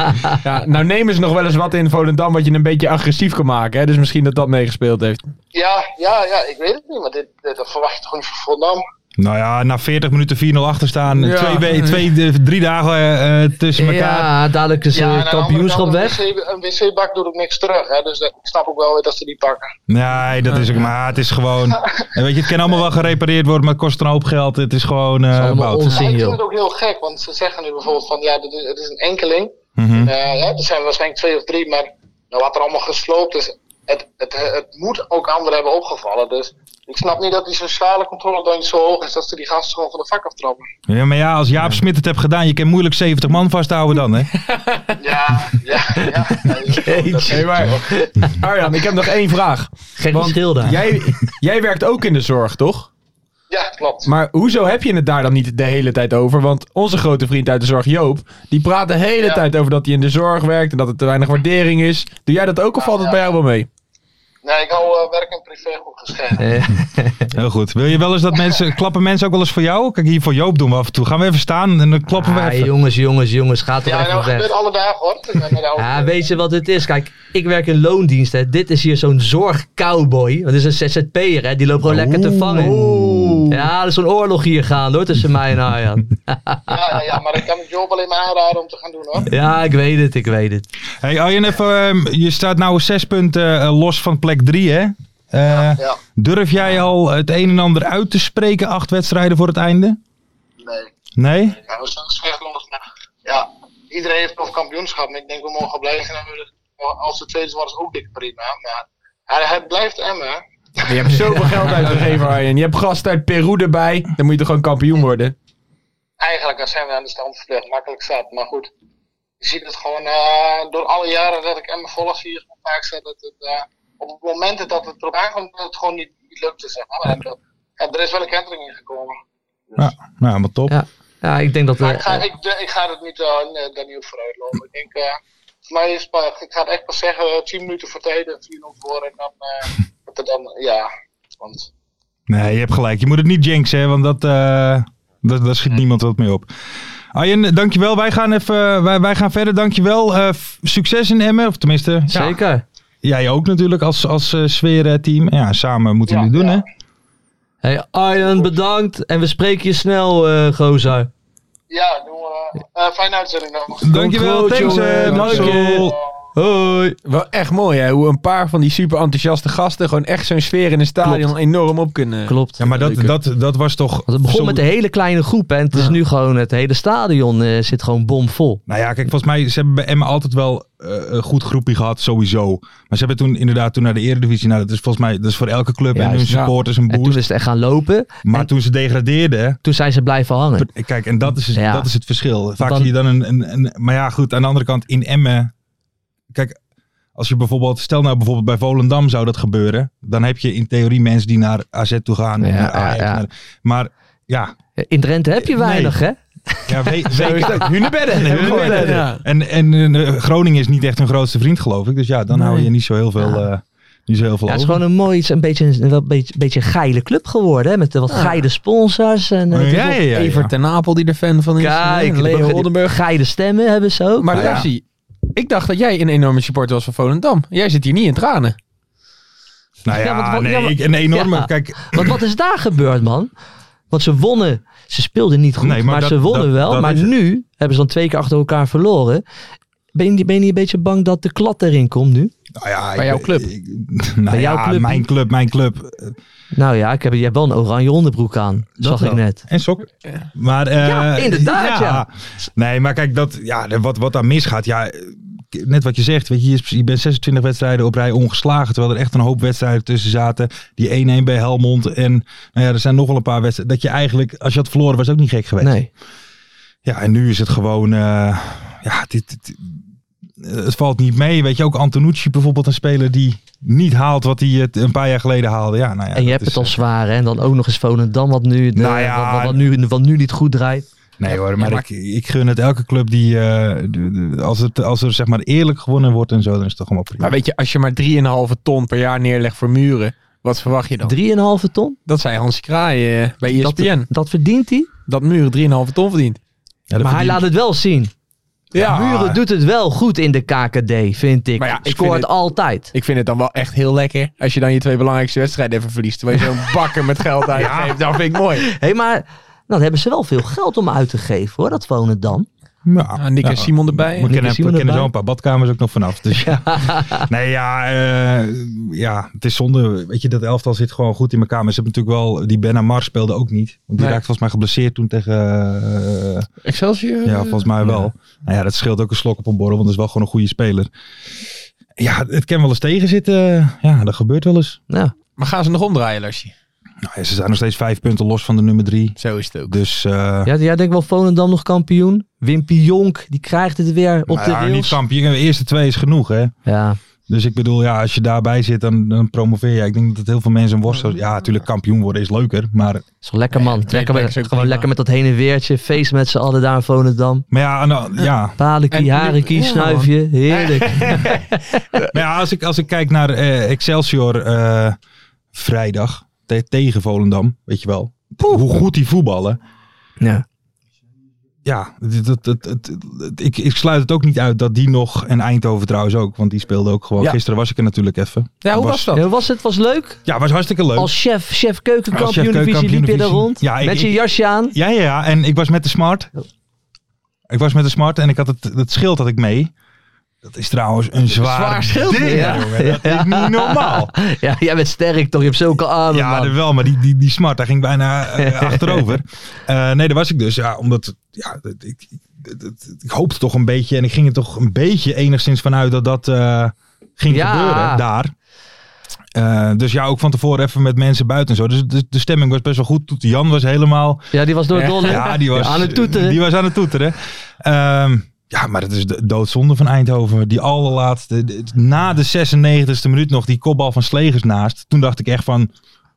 Ja, nou nemen ze nog wel eens wat in Volendam wat je een beetje agressief kan maken. Hè? Dus misschien dat dat meegespeeld heeft.
Ja, ja, ja, ik weet het niet, maar dit, dit, dat verwacht je toch niet van Volendam.
Nou ja, na 40 minuten 4-0 achterstaan.
Ja.
Twee, we- twee, eh, drie dagen eh, eh, tussen elkaar.
Ja, dadelijk is
en aan
het
de
kampioenschap
andere
weg.
kant, Een wc- een wc-bak doet ook niks terug, hè, dus dat, ik snap ook wel weer dat ze die pakken.
Nee, dat is ook. Maar het is gewoon. En weet je, het kan allemaal wel gerepareerd worden, maar het kost een hoop geld. Het is gewoon. eh
is allemaal
bout.
onzin.
Ja, ik vind
joh.
het ook heel gek, want ze zeggen nu bijvoorbeeld van, ja, dit is, het is een enkeling.
Mhm.
Eh, ja, er zijn waarschijnlijk twee of drie, maar nou, wat er allemaal gesloopt is, het, het, het moet ook anderen hebben opgevallen. Dus ik snap niet dat die sociale controle dan niet zo hoog is dat ze die gasten gewoon van de vak aftrappen.
Ja, maar ja, als Jaap Smit het hebt gedaan, je kan moeilijk 70 man vasthouden dan, hè?
Ja, ja, ja. ja, dat is-
Hey, maar, Arjan, ik heb nog één vraag.
Geen
Want
verschil daar.
Jij, jij werkt ook in de zorg, toch?
ja, klopt.
Maar hoezo heb je het daar dan niet de hele tijd over? Want onze grote vriend uit de zorg, Joop, die praat de hele
Ja.
tijd over dat hij in de zorg werkt en dat er te weinig waardering is. Doe jij dat ook of valt het
ja.
bij jou wel mee?
Nee, ik hou eh, werk en privé goed gescheiden.
Heel goed. Wil je wel eens dat mensen. Klappen mensen ook wel eens voor jou? Kijk, hier voor Joop doen we af en toe. Gaan we even staan en dan klappen we
Ah,
even.
jongens, jongens, jongens, gaat toch
Ja,
echt
nou,
nog
dat gebeurt
weg.
alle dagen hoor. Ik ben met de oude-
Ja, weet je wat het is? Kijk, ik werk in loondienst. Hè. Dit is hier zo'n zorgcowboy. Dat is een ZZP'er, hè. Die loopt gewoon lekker te vangen. Ja, er is zo'n oorlog hier gaande, hoor, tussen mij en Arjan.
ja, ja, ja, maar ik kan het Job alleen maar aanraden om te gaan doen hoor.
Ja, ik weet het, ik weet het.
Hey, Arjen, even. ehm, je staat nou zes punten eh, los van plek drie, hè? Eh,
Ja,
Durf jij al het een en ander uit te spreken, acht wedstrijden voor het einde?
nee.
Nee?
Ja, we zijn slecht los, maar ja, iedereen heeft nog kampioenschap. Maar ik denk we mogen blij zijn. dat we- Als de tweede worden is ook dik prima. Maar hij, hij blijft Emmen. hè.
Je hebt zoveel geld uitgegeven, Arjen. Je hebt gast uit Peru erbij. Dan moet je toch gewoon kampioen worden?
Eigenlijk als zijn we aan de stand verplicht. Makkelijk zat, maar goed. Je ziet het gewoon eh, door alle jaren dat ik Emmen volg, zie je gewoon vaak zat dat het eh, op het moment dat het erop aankomt, dat het gewoon niet, niet lukt te zeggen. Maar dat- ja, er is wel een kentering in gekomen.
Ja, nou, maar top.
Ja, ja ik denk dat...
Maar ik ga,
we.
ik, ik ga het niet, eh, nee, daar niet op vooruit lopen. Ik denk, eh, voor mij is het pas- ik ga het echt pas zeggen, eh, 10 minuten voor tijd en 4 voor. En dan, eh, dat het dan, ja. Want,
Nee, je hebt gelijk. Je moet het niet jinxen, hè, want dat, eh dat, daar schiet niemand wat mee op. Arjen, dankjewel. Wij gaan, even, eh, wij, wij gaan verder. Dankjewel. Eh, f- succes in Emmen. Of tenminste, ja,
Zeker.
jij ook natuurlijk als, als eh, sfeerteam. Ja, samen moeten
Ja,
jullie het doen,
ja.
hè?
Hey, Arjan, bedankt. En we spreken je snel, eh Gozer.
ja, doen we, eh, fijne uitzending nog.
Dankjewel.
goed,
Thanks,
jongen.
eh,
Dank je.
Marcel.
Hoi. Wel echt mooi hè, hoe een paar van die super enthousiaste gasten gewoon echt zo'n sfeer in een stadion
Klopt.
enorm op kunnen.
Klopt.
Ja, maar dat, dat, dat was toch...
Want het begon
zo-
met een hele kleine groep hè, en het is nu gewoon het hele stadion eh, zit gewoon bomvol.
Nou ja, kijk, volgens mij ze hebben bij Emmen altijd wel eh, een goed groepje gehad, sowieso. Maar ze hebben toen inderdaad toen naar de Eredivisie, nou dat is volgens mij dat is voor elke club en
Juist,
hun
ja.
supporters een
En
boost.
toen is het echt gaan lopen.
maar
en-
toen ze degradeerden,
Toen zijn ze blijven hangen.
p- kijk, en dat is,
Ja.
dat is het verschil. Vaak
dan-
zie je dan een, een, een- maar ja goed, aan de andere kant in Emmen, kijk, als je bijvoorbeeld, stel nou bijvoorbeeld bij Volendam zou dat gebeuren, dan heb je in theorie mensen die naar AZ toe gaan,
Ja,
naar Ajax,
ja, ja.
naar- maar ja,
Eh, In Drenthe heb je
Eh, Nee.
weinig hè.
ja weet,
Zo is dat. Hunebedden. Hunebedden. Ja.
En, en eh, Groningen is niet echt hun grootste vriend, geloof ik. Dus ja, dan hou je niet zo heel veel, eh, niet zo heel veel
Ja, het is
over.
gewoon een mooi, iets, een beetje een, wel een beetje, een beetje een geile club geworden hè, met eh, wat geile sponsors en eh,
ja, ja, ja, ja.
Evert ten Apel die er fan van is.
Kijk,
Ja, Leo
die-
Oldenburg.
geile stemmen hebben ze ook.
Maar
Ja.
Lassie, ik dacht dat jij een enorme supporter was van Volendam. Jij zit hier niet in tranen.
Nou ja,
Ja, want wat-
nee,
ja, maar-
ik- een enorme...
Ja.
Kijk,
Want wat is daar gebeurd, man? Want ze wonnen. Ze speelden niet goed,
Nee, maar
maar,
dat-
ze wonnen
dat-
wel.
dat
maar
is het.
nu hebben ze dan twee keer achter elkaar verloren. Ben je, niet- ben je niet een beetje bang dat de klad erin komt nu?
nou ja,
Bij
ik-
jouw club.
ik- nou
Bij jouw
ja,
club
mijn
niet?
club, mijn club.
Nou ja, ik heb, je hebt wel een oranje onderbroek aan. zag ik
wel.
net.
En sok. Maar, eh,
Ja, inderdaad, ja.
Nee, maar kijk, dat, ja, wat, wat daar misgaat, ja... eh, Net wat je zegt, weet je, je, is- je bent 26 wedstrijden op rij ongeslagen. Terwijl er echt een hoop wedstrijden tussen zaten. Die 1-1 bij Helmond. En nou ja, er zijn nog wel een paar wedstrijden. Dat je eigenlijk, als je had verloren, was het ook niet gek geweest.
Nee.
Ja, en nu is het gewoon. eh, ja, dit, dit- het valt niet mee. Weet je, ook Antonucci bijvoorbeeld, een speler die niet haalt wat hij het een paar jaar geleden haalde. Ja, nou ja,
en je
dat
hebt het
is,
al zwaar. Hè? En dan ook nog eens Volendam, wat nu, de-
Nou ja.
wat, wat, wat nu, wat nu niet goed draait.
eh, Nee hoor, maar,
Ja,
Ik, ik gun het elke club die. eh, de- de- als, het, als er zeg maar eerlijk gewonnen wordt en zo, dan is het toch allemaal prima.
Maar weet je, als je maar 3,5 ton per jaar neerlegt voor muren, wat verwacht je dan?
3,5 ton?
Dat zei Hans Kraai eh, bij
Dat,
ESPN.
dat verdient hij.
Dat, muren 3,5 ton verdient.
Ja, dat
maar hij
verdient-
laat het wel zien.
Ja.
Muren doet het wel goed in de KKD, vind ik.
Maar ja, ik
Scoort
vind het-
altijd.
Ik vind het dan wel echt heel lekker als je dan je twee belangrijkste wedstrijden even verliest. Terwijl je zo'n bakker met geld uitgeeft. Dat vind ik mooi.
Hé, maar nou, dan hebben ze wel veel geld om uit te geven hoor, dat Volendam.
Ja,
Ah, Nick en Simon erbij.
We
Nick
en
kennen, we
Simon
kennen
erbij.
zo een paar badkamers ook nog vanaf. Dus ja. nee, ja, eh, ja, het is zonde. Weet je, dat elftal zit gewoon goed in elkaar. Maar ze hebben natuurlijk wel... Die Ben Amar speelde ook niet. Want die
Nee.
raakte volgens mij geblesseerd toen tegen... eh,
Excelsior?
ja, volgens mij wel. Nou ja, dat scheelt ook een slok op een borrel. Want dat is wel gewoon een goede speler. Ja, het kan wel eens tegenzitten. Ja, dat gebeurt wel eens.
Nou,
Maar gaan ze nog omdraaien, Lassie?
Nou, ja, ze zijn nog steeds vijf punten los van de nummer drie.
Zo is het ook.
Dus... eh,
ja, jij denkt wel Volendam nog kampioen? Wimpy Jonk, die krijgt het weer op
nou
de
ja, niet
rails.
kampioen. De eerste twee is genoeg, hè?
Ja,
Dus ik bedoel, ja, als je daarbij zit, dan, dan promoveer je. Ik denk dat heel veel mensen een worstel. Ja, natuurlijk, kampioen worden is leuker. Maar,
is wel lekker man.
tweede
Lekker
plek
met,
is ook
gewoon
prima.
lekker met dat heen en weertje. Feest met z'n allen daar in Volendam.
maar ja, nou, ja.
En nu-
Palekie, harekie,
ja,
snuifje. Heerlijk.
Maar ja, als ik, als ik kijk naar eh, Excelsior eh, vrijdag te- tegen Volendam, weet je wel. Hoe goed die voetballen.
Ja.
Ja, dat, dat, dat, dat- ik, ik sluit het ook niet uit dat die nog, en Eindhoven trouwens ook, want die speelde ook gewoon.
Ja.
Gisteren was ik er natuurlijk even.
Ja, hoe was dat?
Ja, was het? Was leuk?
Ja, was hartstikke leuk.
Als chef, chef
Als chef
keukenkampioen divisie liep je daar
keukenkampioendivisie.
rond.
Ja, ik-
met je
ik-
jasje aan.
Ja, ja, ja. En ik was met de Smart. Ik was met de Smart en ik had het, het schild had ik mee. Dat is trouwens een zwaar,
Zwaar schild,
ding,
ja.
jongen. Dat is niet normaal.
Ja, jij bent sterk toch? Je hebt zulke armen
Ja,
man.
dat wel, maar die, die, die Smart, daar ging bijna eh, achterover. Eh, nee, daar was ik dus. Ja, omdat ja, dat- ik, ik, dat- ik hoopte toch een beetje en ik ging er toch een beetje enigszins vanuit dat dat eh, ging
Ja.
gebeuren daar. Eh, dus ja, ook van tevoren even met mensen buiten en zo. Dus de, de stemming was best wel goed. Toet Jan was helemaal
Ja, die was door het dolle.
ja, die was
aan het toeteren.
Die was aan het toeteren. Ehm, ja, maar dat is de doodzonde van Eindhoven. Die allerlaatste, de- na de 96e minuut nog die kopbal van Slegers naast. Toen dacht ik echt van,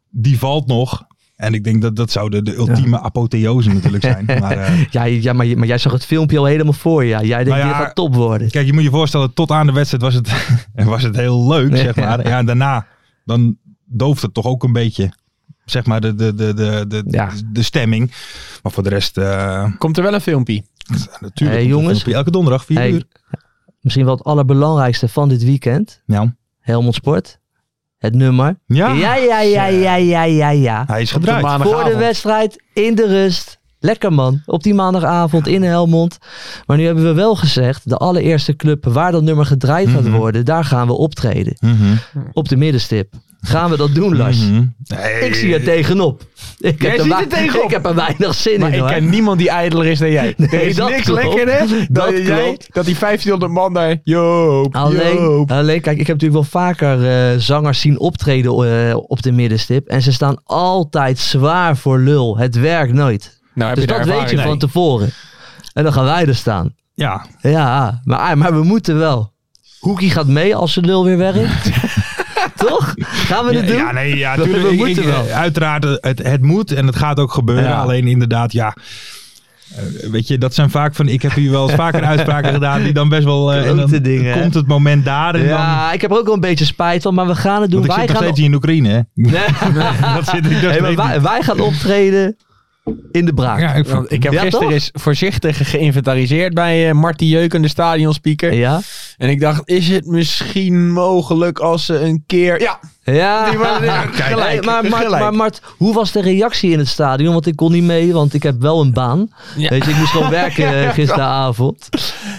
die valt nog. En ik denk dat dat zou de, de ultieme apotheose natuurlijk zijn. Maar, eh,
Ja, ja maar, je- maar jij zag het filmpje al helemaal voor je. Ja. Jij denkt,
Nou ja,
dit gaat top worden.
kijk, je moet je voorstellen, tot aan de wedstrijd was het, was het heel leuk, zeg maar. Ja, en daarna, dan dooft het toch ook een beetje, zeg maar, de, de, de, de, de,
Ja.
de stemming. Maar voor de rest, eh,
Komt er wel een filmpje?
natuurlijk.
Hey, jongens.
Elke donderdag, vier
Hey.
uur.
Misschien wel het allerbelangrijkste van dit weekend.
Ja.
Helmond Sport. Het nummer.
Ja.
Ja, ja, ja, ja, ja, ja, ja.
Hij is
Op de
gedraaid.
maandagavond.
Voor de wedstrijd, in de rust. Lekker man, op die maandagavond in Helmond. Maar nu hebben we wel gezegd, de allereerste club waar dat nummer gedraaid gaat
Mhm.
worden, daar gaan we optreden.
Mhm.
Op de middenstip. Gaan we dat doen, Lars?
Mhm.
Ik zie er tegenop. Ik
Jij
heb, er
ziet
wa-
er tegenop.
ik heb er weinig zin
Maar
in.
ik
hoor.
ken niemand die ijdeler is dan jij.
Nee,
er is
dat
niks
klopt.
lekkerder
Dat
dan jij,
klopt.
dat die 1500 man daar... Joop,
Alleen,
Joop.
alleen, kijk, ik heb natuurlijk wel vaker eh, zangers zien optreden eh, op de middenstip. En ze staan altijd zwaar voor lul. Het werkt nooit.
Nou, heb
dus
je daar
dat weet je
ervaring
van
mee?
tevoren. En dan gaan wij er staan.
Ja,
Ja, maar, ah, maar we moeten wel. Hoekie gaat mee als zijn lul weer werkt. Toch? Gaan we het doen?
Ja, nee, ja,
Dat-
tuurlijk,
we
ik-
moeten
ik-
wel.
Uiteraard, het, het moet en het gaat ook gebeuren.
Ja.
Alleen inderdaad, ja. eh, Weet je, dat zijn vaak van. Ik heb hier wel eens vaker uitspraken gedaan. die dan best wel. eh, en dan
Klote dingen, hè?
komt het moment daar. En dan,
ja, ik heb er ook wel een beetje spijt van, maar we gaan het doen.
want ik
wij
zit nog
gaan
steeds in Oekraïne. Hè?
Nee.
dat zit ik nog
Hey, maar
steeds
wij, wij gaan optreden in de braak.
Ja, ik vond-
Want ik heb
Ja,
gisteren
toch?
eens voorzichtig geïnventariseerd bij eh Marty Jeuken, de stadionspeaker.
Ja?
En ik dacht, is het misschien mogelijk als ze een keer... Ja,
Ja.
die waren ja,
Hey,
gelijk.
maar, Mart,
Ah, gelijk.
maar Mart, hoe was de reactie in het stadion? Want ik kon niet mee, want ik heb wel een baan.
Ja.
Weet je, ik moest gewoon werken eh, gisteravond.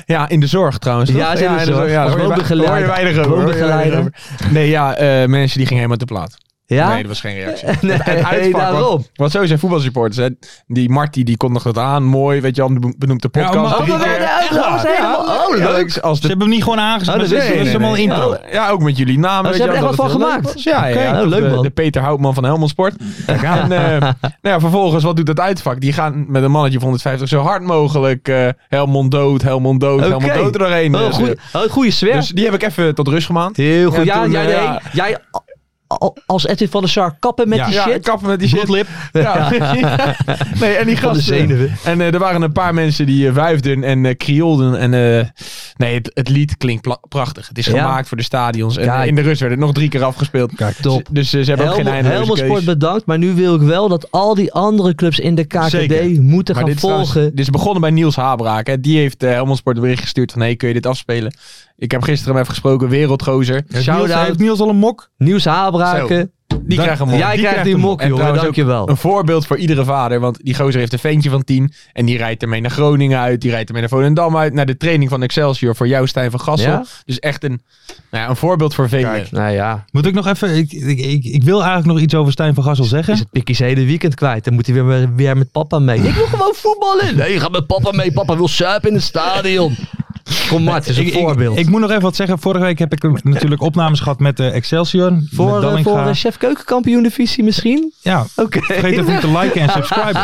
Ja, in de zorg trouwens.
Ja,
toch?
ze in de zorg.
Ja, daar
Als
hoor je
woonbegeleider.
daar hoor je weinig over. hoor je weinig
Woonbegeleider.
over. Nee, ja, eh, mensen die gingen helemaal te plaat.
Ja?
Nee, dat was geen reactie.
Nee,
Het uitvak, want-
daarom.
Want zo zijn voetbalsupporters. Hè. Die Marty die kondigt dat aan. Mooi, weet je wel, benoemt de podcast.
Ja, maar-
drie
Oh, we
keer.
werden uitgenodigd,
Ja, ja,
helemaal.
ja,
Oh,
ja,
leuk.
ik- Als
Ze
de
hebben hem niet gewoon aangezet.
Oh, dat
ze dus
wist ik
ze
niet.
hebben allemaal
Nee, nee,
intro.
nee.
Ja, ook met jullie namen.
Oh, ze
weet je
hebben
wel,
er echt
dat
wat van
het heel
gemaakt.
leuk was. Ja, ja, ja.
Oh, leuk,
de,
man.
de Peter Houtman van Helmond Sport. En eh, nou ja, vervolgens, wat doet dat uitvak? Die gaan met een mannetje van 150 zo hard mogelijk eh, Helmond dood, Helmond dood, Helmond
Oké.
dood er doorheen.
Oh,
eh,
goeie- oh, goede sfeer.
Dus die heb ik even tot rust gemaakt.
Heel goed. Ja,
Ja, toen,
jij,
eh,
jij-
ja.
jij a- a- als Edwin van der Sar kappen met
Ja.
die
Ja,
shit.
kappen met die shit.
Bloedlip.
Ja. nee, en die
Van de
gasten.
zenuwen.
En eh, er waren een paar mensen die eh, wuifden en eh kriolden. En eh, nee, het, het lied klinkt pla- prachtig. Het is
Ja.
gemaakt voor de stadions. En
Kijk.
eh, in de rust werd het nog drie keer afgespeeld.
Kijk, top.
Dus eh, ze hebben ook geen
Helmond,
eindeloze
Helmond
keus.
Sport bedankt, maar nu wil ik wel dat al die andere clubs in de KKD
Zeker.
moeten
Maar
gaan
dit is,
volgen.
trouwens- dit is begonnen bij Niels Habraak. Hè. Die heeft eh, Helmond Sport een bericht gestuurd van... hey, kun je dit afspelen? Ik heb gisteren hem even gesproken. Wereldgozer.
Heeft
Shout-out.
Niels- Heeft Niels al een mok?
Nieuws Habraken.
Die
Dan-
krijgt hem op.
Jij krijgt die
hem op.
mok,
En
jongen.
trouwens ook
Dankjewel.
Een voorbeeld voor iedere vader. Want die gozer heeft een ventje van tien. En die rijdt ermee naar Groningen uit. Die rijdt ermee naar Volendam uit. Naar de training van Excelsior voor jou, Stijn van Gassel.
Ja?
Dus echt een, nou ja, een voorbeeld voor velen.
Nou ja,
Moet ik nog even. Ik, ik, ik, ik wil eigenlijk nog iets over Stijn van Gassel
is
zeggen.
het Pikkies hele weekend kwijt. Dan moet hij weer, weer met papa mee. Ik wil gewoon voetballen. Nee, ga met papa mee. Papa wil suipen in het stadion. Kom Mart, het is een
Ik- ik-
voorbeeld.
Ik, moet nog even wat zeggen. Vorige week heb ik natuurlijk opnames gehad met eh, Excelsior. met
voor, eh,
Dallinga.
voor eh, chef keukenkampioen divisie misschien?
Ja,
Oké.
vergeet even niet te liken en subscriben.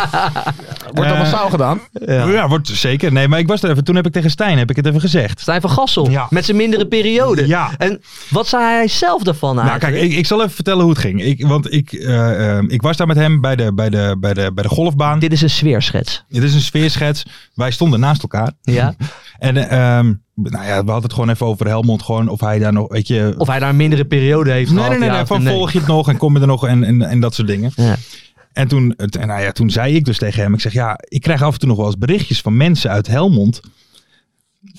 Wordt dan
Eh,
massaal gedaan.
Ja. wordt zeker. Nee, maar ik was er even. Toen heb ik tegen Stijn heb ik het even gezegd.
Stijn van Gassel,
Ja.
met zijn mindere periode.
Ja.
En wat zei hij zelf daarvan
Nou,
eigenlijk?
kijk, ik, ik zal even vertellen hoe het ging. Ik, want ik, eh, ehm, ik was daar met hem bij de, bij de, bij de, bij de golfbaan.
Dit is een sfeerschets.
Dit is een sfeerschets. Wij stonden naast elkaar.
Ja?
En eh, ehm, nou ja, we hadden het gewoon even over Helmond. Gewoon of hij daar nog, weet je...
Of hij daar een mindere periode heeft
nee,
gehad.
nee, nee,
ja
nee,
of
van volg je het nog en kom je er nog en, en, en dat soort dingen.
Ja.
En toen, het- en nou ja, toen zei ik dus tegen hem, ik zeg ja, ik krijg af en toe nog wel eens berichtjes van mensen uit Helmond.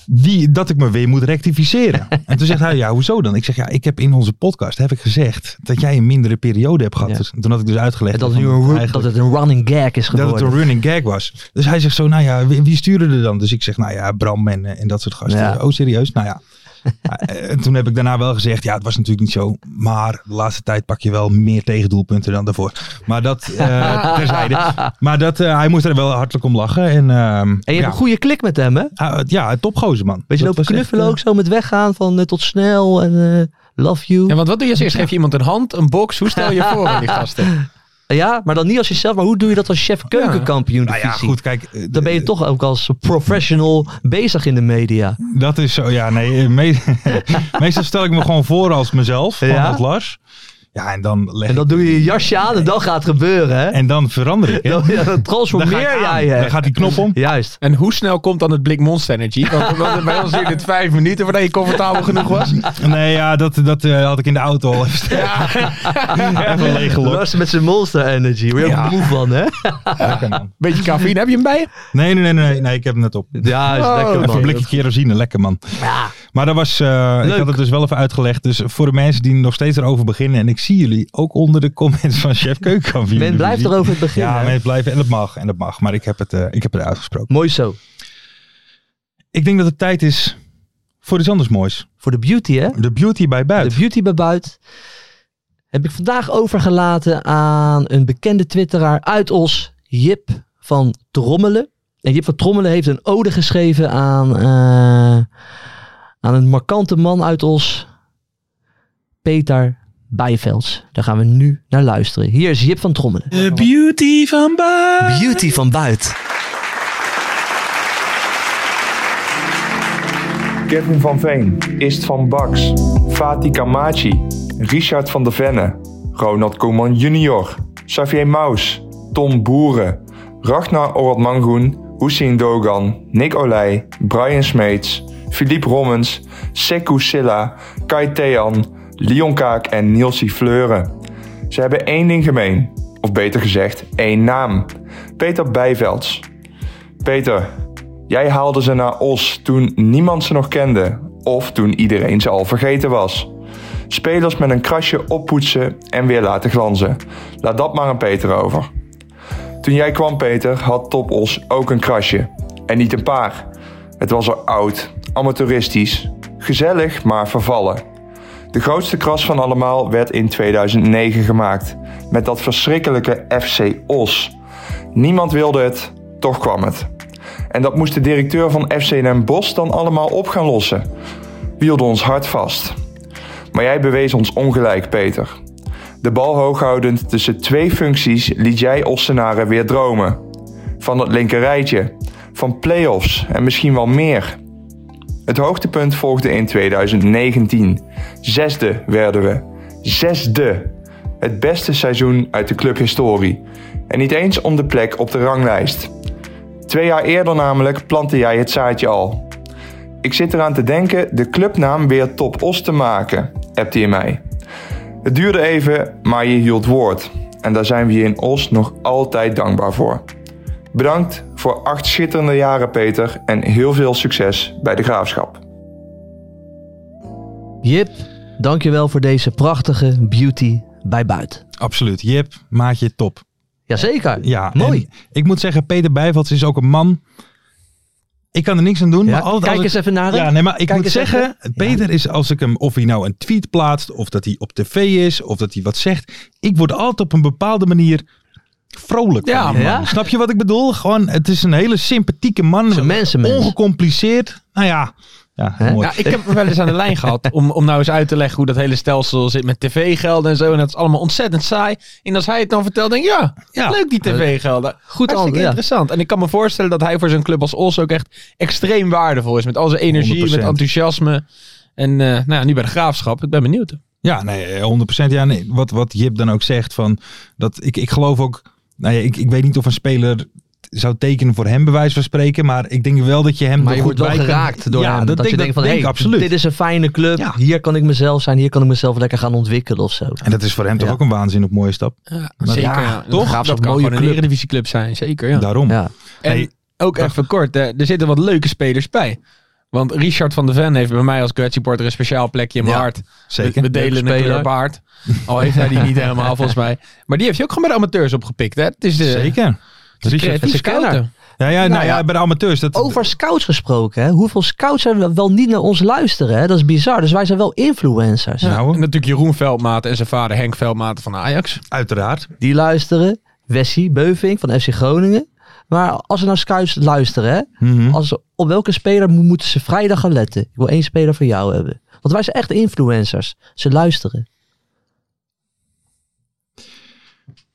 Die, dat ik me weer moet rectificeren. En toen zegt hij, ja, hoezo dan? Ik zeg, ja, ik heb in onze podcast heb ik gezegd dat jij een mindere periode hebt gehad.
Ja.
Dus, toen had ik dus uitgelegd
Dat, het nu
van,
een, ru-
eigenlijk-
dat het een running gag is
dat het
geworden.
een running gag was. Dus hij zegt zo, nou ja, wie, wie stuurde er dan? Dus ik zeg, nou ja, Bram en, eh, en dat soort gasten.
Ja.
Oh, serieus? Nou ja. Eh, en toen heb ik daarna wel gezegd, ja, het was natuurlijk niet zo. Maar de laatste tijd pak je wel meer tegendoelpunten dan daarvoor. Maar dat, eh terzijde. Maar dat, eh, hij moest er wel hartelijk om lachen. En, ehm,
en je
ja,
hebt een goede klik met hem, hè?
Ah, het- ja, topgozer man.
Weet je,
Dat
lopen
was echt, eh,
knuffelen ook zo met weggaan van eh, tot snel en eh, love you.
Ja,
Ja,
want wat doe je als eerst? Geef je iemand een hand, een box? Hoe stel je voor aan die gasten?
maar dan niet als jezelf, maar hoe doe je dat als chef keukenkampioen
eh, nou ja,
divisie?
goed, kijk. eh,
Dan ben je toch ook als professional bezig in de media.
Dat is zo, ja, nee. eh, me- meestal stel ik me gewoon voor als mezelf, van
Ja?
als Lars. Ja, en dan leg
En dan doe je je jasje aan en dan gaat het gebeuren, hè?
ik- en dan verander ik. hè.
Dan, ja, dan
Dan
transformeer
ga ik aan.
jij hè?
Dan gaat die knop om.
Juist.
En hoe snel komt dan het blik Monster Energy? Want, want bij ons duurde het vijf minuten voordat je comfortabel genoeg was.
Nee, ja, dat, dat eh, had ik in de auto al even, even leeggelopen.
Lars met zijn monster energy. Word je ook
Ja.
moe van, hè?
Beetje cafeïne, heb je hem bij je?
Nee, nee, nee, nee, nee, ik heb hem net op.
Ja, is
Oh,
lekker,
Even
man.
een blikje kerosine, lekker man.
Ja.
Maar dat was, eh, ik
Leuk.
had het dus wel even uitgelegd. Dus voor de mensen die nog steeds erover beginnen. En ik zie jullie ook onder de comments van Chef Keukenkampioen.
Men blijft er over het begin.
Ja,
hè?
men blijft en dat mag en dat mag. Maar ik heb het, eh, ik heb het uitgesproken.
Mooi zo.
Ik denk dat het tijd is voor iets anders moois.
Voor de beauty, hè?
De beauty bij buiten.
De beauty bij Buit heb ik vandaag overgelaten aan een bekende twitteraar uit Os, Jip van Trommelen. En Jip van Trommelen heeft een ode geschreven aan, eh, aan een markante man uit Os, Peter Bijvelds. Daar gaan we nu naar luisteren. Hier is Jip van Trommelen.
De beauty van buiten.
Beauty van Buit.
Kevin van Veen, Ist van Baks, Fatih Kamachi, Richard van der Venne, Ronald Koeman junior, Xavier Maus, Tom Boeren, Ragnar Oratmangoen, Hussein Dogan, Nick Olij, Brian Smeets, Philippe Rommens, Sekou Silla, Kai Thean, Leon Kaak en Nielsie Fleuren. Ze hebben één ding gemeen, of beter gezegd, één naam. Peter Bijvelds. Peter, Jij haalde ze naar Os toen niemand ze nog kende of toen iedereen ze al vergeten was. Spelers met een krasje oppoetsen en weer laten glanzen. Laat dat maar aan Peter over. Toen jij kwam, Peter, had Top Os ook een krasje. En niet een paar. Het was er oud, amateuristisch, gezellig, maar vervallen. De grootste kras van allemaal werd in 2009 gemaakt. Met dat verschrikkelijke FC Os. Niemand wilde het, toch kwam het. En dat moest de directeur van FC Den Bosch dan allemaal op gaan lossen. Wielde ons hard vast. Maar jij bewees ons ongelijk, Peter. De bal hooghoudend tussen twee functies liet jij Ossenaren weer dromen. Van het linkerrijtje, van play-offs en misschien wel meer. Het hoogtepunt volgde in 2019. Zesde werden we. Zesde! Het beste seizoen uit de clubhistorie. En niet eens om de plek op de ranglijst. Twee jaar eerder namelijk plantte jij het zaadje al. Ik zit eraan te denken de clubnaam weer Top Os te maken, appte je mij. Het duurde even, maar je hield woord. En daar zijn we je in Os nog altijd dankbaar voor. Bedankt voor acht schitterende jaren, Peter, en heel veel succes bij de graafschap.
Jip, dankjewel voor deze prachtige beauty bij Buit.
Absoluut. Jip, maatje, top.
Jazeker.
Ja,
Mooi.
en Ik moet zeggen, Peter Bijvelds is ook een man. Ik kan er niks aan doen.
Ja,
maar altijd
Kijk
als ik-
eens even naar hem.
Ja, nee, maar ik
Kijk
moet
eens
zeggen, Peter is als ik hem, of hij nou een tweet plaatst, of dat hij op tv is, of dat hij wat zegt. Ik word altijd op een bepaalde manier vrolijk. van
Ja,
die man.
man.
Snap je wat ik bedoel? Gewoon, het is een hele sympathieke man.
Zo'n mensenmens.
Ongecompliceerd. Nou ja, ja
Hè?
mooi.
Ja, ik heb hem wel eens aan de lijn gehad om, om nou eens uit te leggen hoe dat hele stelsel zit met tv-gelden en zo. En dat is allemaal ontzettend saai. En als hij het dan vertelt, denk ik, ja,
Ja.
leuk die tv-gelden. Goed
antwoord, ja.
interessant. En ik kan me voorstellen dat hij voor zo'n club als Os ook echt extreem waardevol is. Met al zijn energie,
100%.
met enthousiasme. En eh, nou ja, nu bij de graafschap. Ik ben benieuwd.
Ja, nee, 100%. Ja, nee, wat, wat Jip dan ook zegt, van dat ik, ik geloof ook. Nou ja, ik, ik weet niet of een speler zou tekenen voor hem, bij wijze van spreken. Maar ik denk wel dat je hem
Maar
er
je
goed
wordt wel
bij kan-
geraakt door
ja,
hem.
Dat, denk,
je denkt van,
denk
hey,
ik absoluut.
dit is een fijne club.
Ja.
Hier kan ik mezelf zijn. Hier kan ik mezelf lekker gaan ontwikkelen of zo.
En dat is voor hem toch
Ja.
ook een waanzinnig mooie stap. zeker, ja.
toch?
Toch?
De graafschap
Dat
kan
mooie
gewoon een
club. Nou,
eredivisieclub zijn, zeker. Ja.
Daarom.
Ja.
En
Hey,
ook even kort, eh, er zitten wat leuke spelers bij. Want Richard van de Ven heeft bij mij als Great Supporter een speciaal plekje in mijn
Ja,
hart.
Zeker.
We, we delen
Leuke
een
speler.
kleur paard. Al heeft hij die niet helemaal volgens mij. Maar die heeft je ook gewoon bij de amateurs opgepikt. Hè? Het is de
Zeker. Richard.
creatief
is een kenner.
scouten.
Ja, ja, nou,
Nou
ja,
ja,
bij de amateurs. Dat,
Over scouts gesproken. Hè? Hoeveel scouts er wel niet naar ons luisteren. Hè? Dat is bizar. Dus wij zijn wel influencers.
Nou,
En natuurlijk Jeroen Veldmaat en zijn vader Henk Veldmaat van Ajax.
uiteraard.
Die luisteren. Wessie Beuving van FC Groningen. Maar als ze naar scouts luisteren. Hè?
Mhm.
Als ze- op welke speler mo- moeten ze vrijdag gaan letten? Ik wil één speler voor jou hebben. Want wij zijn echt influencers. Ze luisteren.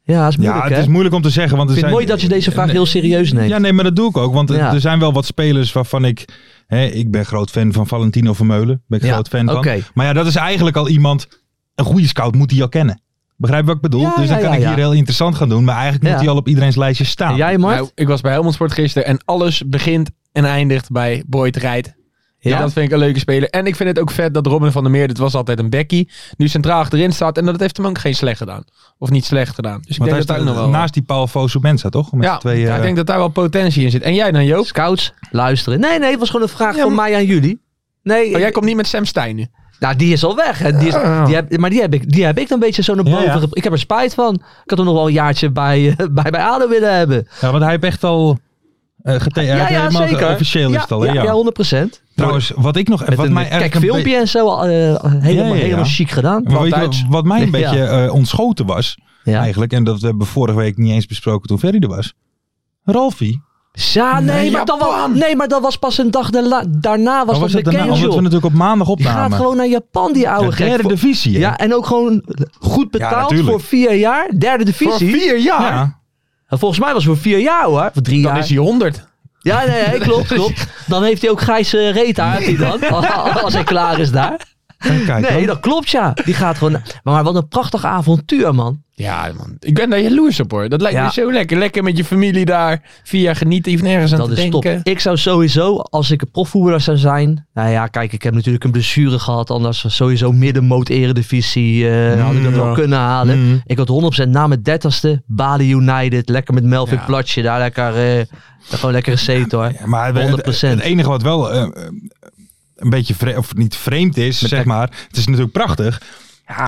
Ja, dat is moeilijk
Ja, het
hè?
is moeilijk om te zeggen. Want er
Ik vind het mooi
zijn,
dat je deze vraag heel serieus neemt.
Ja, nee, maar dat doe ik ook. Want
Ja.
er zijn wel wat spelers waarvan ik... Hè, ik ben groot fan van Valentino Vermeulen. Ben ik
Ja,
groot fan van.
oké.
Maar ja, dat is eigenlijk al iemand... Een goede scout moet hij al kennen. Begrijp je wat ik bedoel?
Ja,
dus dan
ja,
kan
ja,
ik
ja.
hier heel interessant gaan doen. Maar eigenlijk
Ja.
moet hij al op iedereen's lijstje staan.
En jij, Mart?
Nou, ik was bij Helmond Sport gisteren en alles begint en eindigt bij Boyd Rijt. Ja.
Ja.
dat vind ik een leuke speler. En ik vind het ook vet dat Robin van der Meer, dit was altijd een bekkie, nu centraal achterin staat. En dat heeft hem ook geen slecht gedaan. Of niet slecht gedaan. Dus ik
Want
denk
hij
dat daar
staat
nog wel...
naast die Paul Fosu Mensa, toch? Met
ja,
z'n tweeën,
ja, ik
eh,
denk dat daar wel potentie in zit. En jij dan, Joop?
Scouts, luisteren. Nee, nee, het was gewoon een vraag
Ja,
van
maar-
mij aan jullie. Nee,
Oh, jij
ik-
komt niet met Sam Stein nu.
Nou, die is al weg. Hè. Die is, die heb, maar die heb, ik, die heb ik dan een beetje zo naar
Oh. Ja,
boven.
ja.
gep- Ik heb er spijt van. Ik had hem nog wel een jaartje bij, eh, bij, bij ADO willen hebben.
eh, Ja, want hij heeft echt al eh gete- hij
ja,
heeft
ja,
helemaal
zeker.
officieel is
ja,
het al. hè?
Ja,
Ja.
ja, 100 procent.
Trouwens, wat ik nog
Met
wat
een
mij
kijk
eigenlijk een
filmpje en zo. eh, helemaal,
ja, ja.
helemaal chic gedaan.
be- maar weet je
Altijd.
wat, wat mij een
Ja.
beetje eh, ontschoten was,
Ja.
eigenlijk, en dat hebben we vorige week niet eens besproken toen Ferry er was. Ralfie.
Ja, nee, maar dan was, nee, maar dat was pas een dag daarna, daarna was,
Wat was het
dat de
daarna? Omdat we
cancel.
natuurlijk op maandag
Die gaat
opnamen.
gewoon naar Japan, die oude
De
gek.
derde
Voor-
divisie. hè?
Ja, en ook gewoon goed betaald
natuurlijk.
voor vier jaar. Derde divisie.
vier jaar?
Ja.
En Volgens mij was het voor vier jaar hoor. Voor drie
Dan
jaar.
is hij 100.
Ja, nee, nee, klopt, klopt. Dan heeft hij ook grijze reet aan, heeft hij dan. Als hij klaar is daar.
Kijk, kijk,
Nee,
hoor.
dat klopt ja. Die gaat gewoon... Maar wat een prachtig avontuur, man.
Ja, man. Ik ben daar jaloers op, hoor. Dat lijkt
Ja.
me zo lekker. Lekker met je familie daar. Vier jaar genieten. Je hoeft nergens aan
Dat
te
is top.
denken.
Ik zou sowieso, als ik een profvoerder zou zijn... Nou ja, kijk, ik heb natuurlijk een blessure gehad. Anders was sowieso middenmoot eredivisie. eh had ik dat wel kunnen halen.
Mm.
Ik had 100% na mijn dertigste. Bali United. Lekker met Melvin
Ja.
Platje. Daar lekker... eh, gewoon lekker gezeten hoor.
Ja, maar we- het-
100%.
Het enige wat wel eh, eh, een beetje vre- of niet vreemd is, zeg maar. Het is natuurlijk prachtig.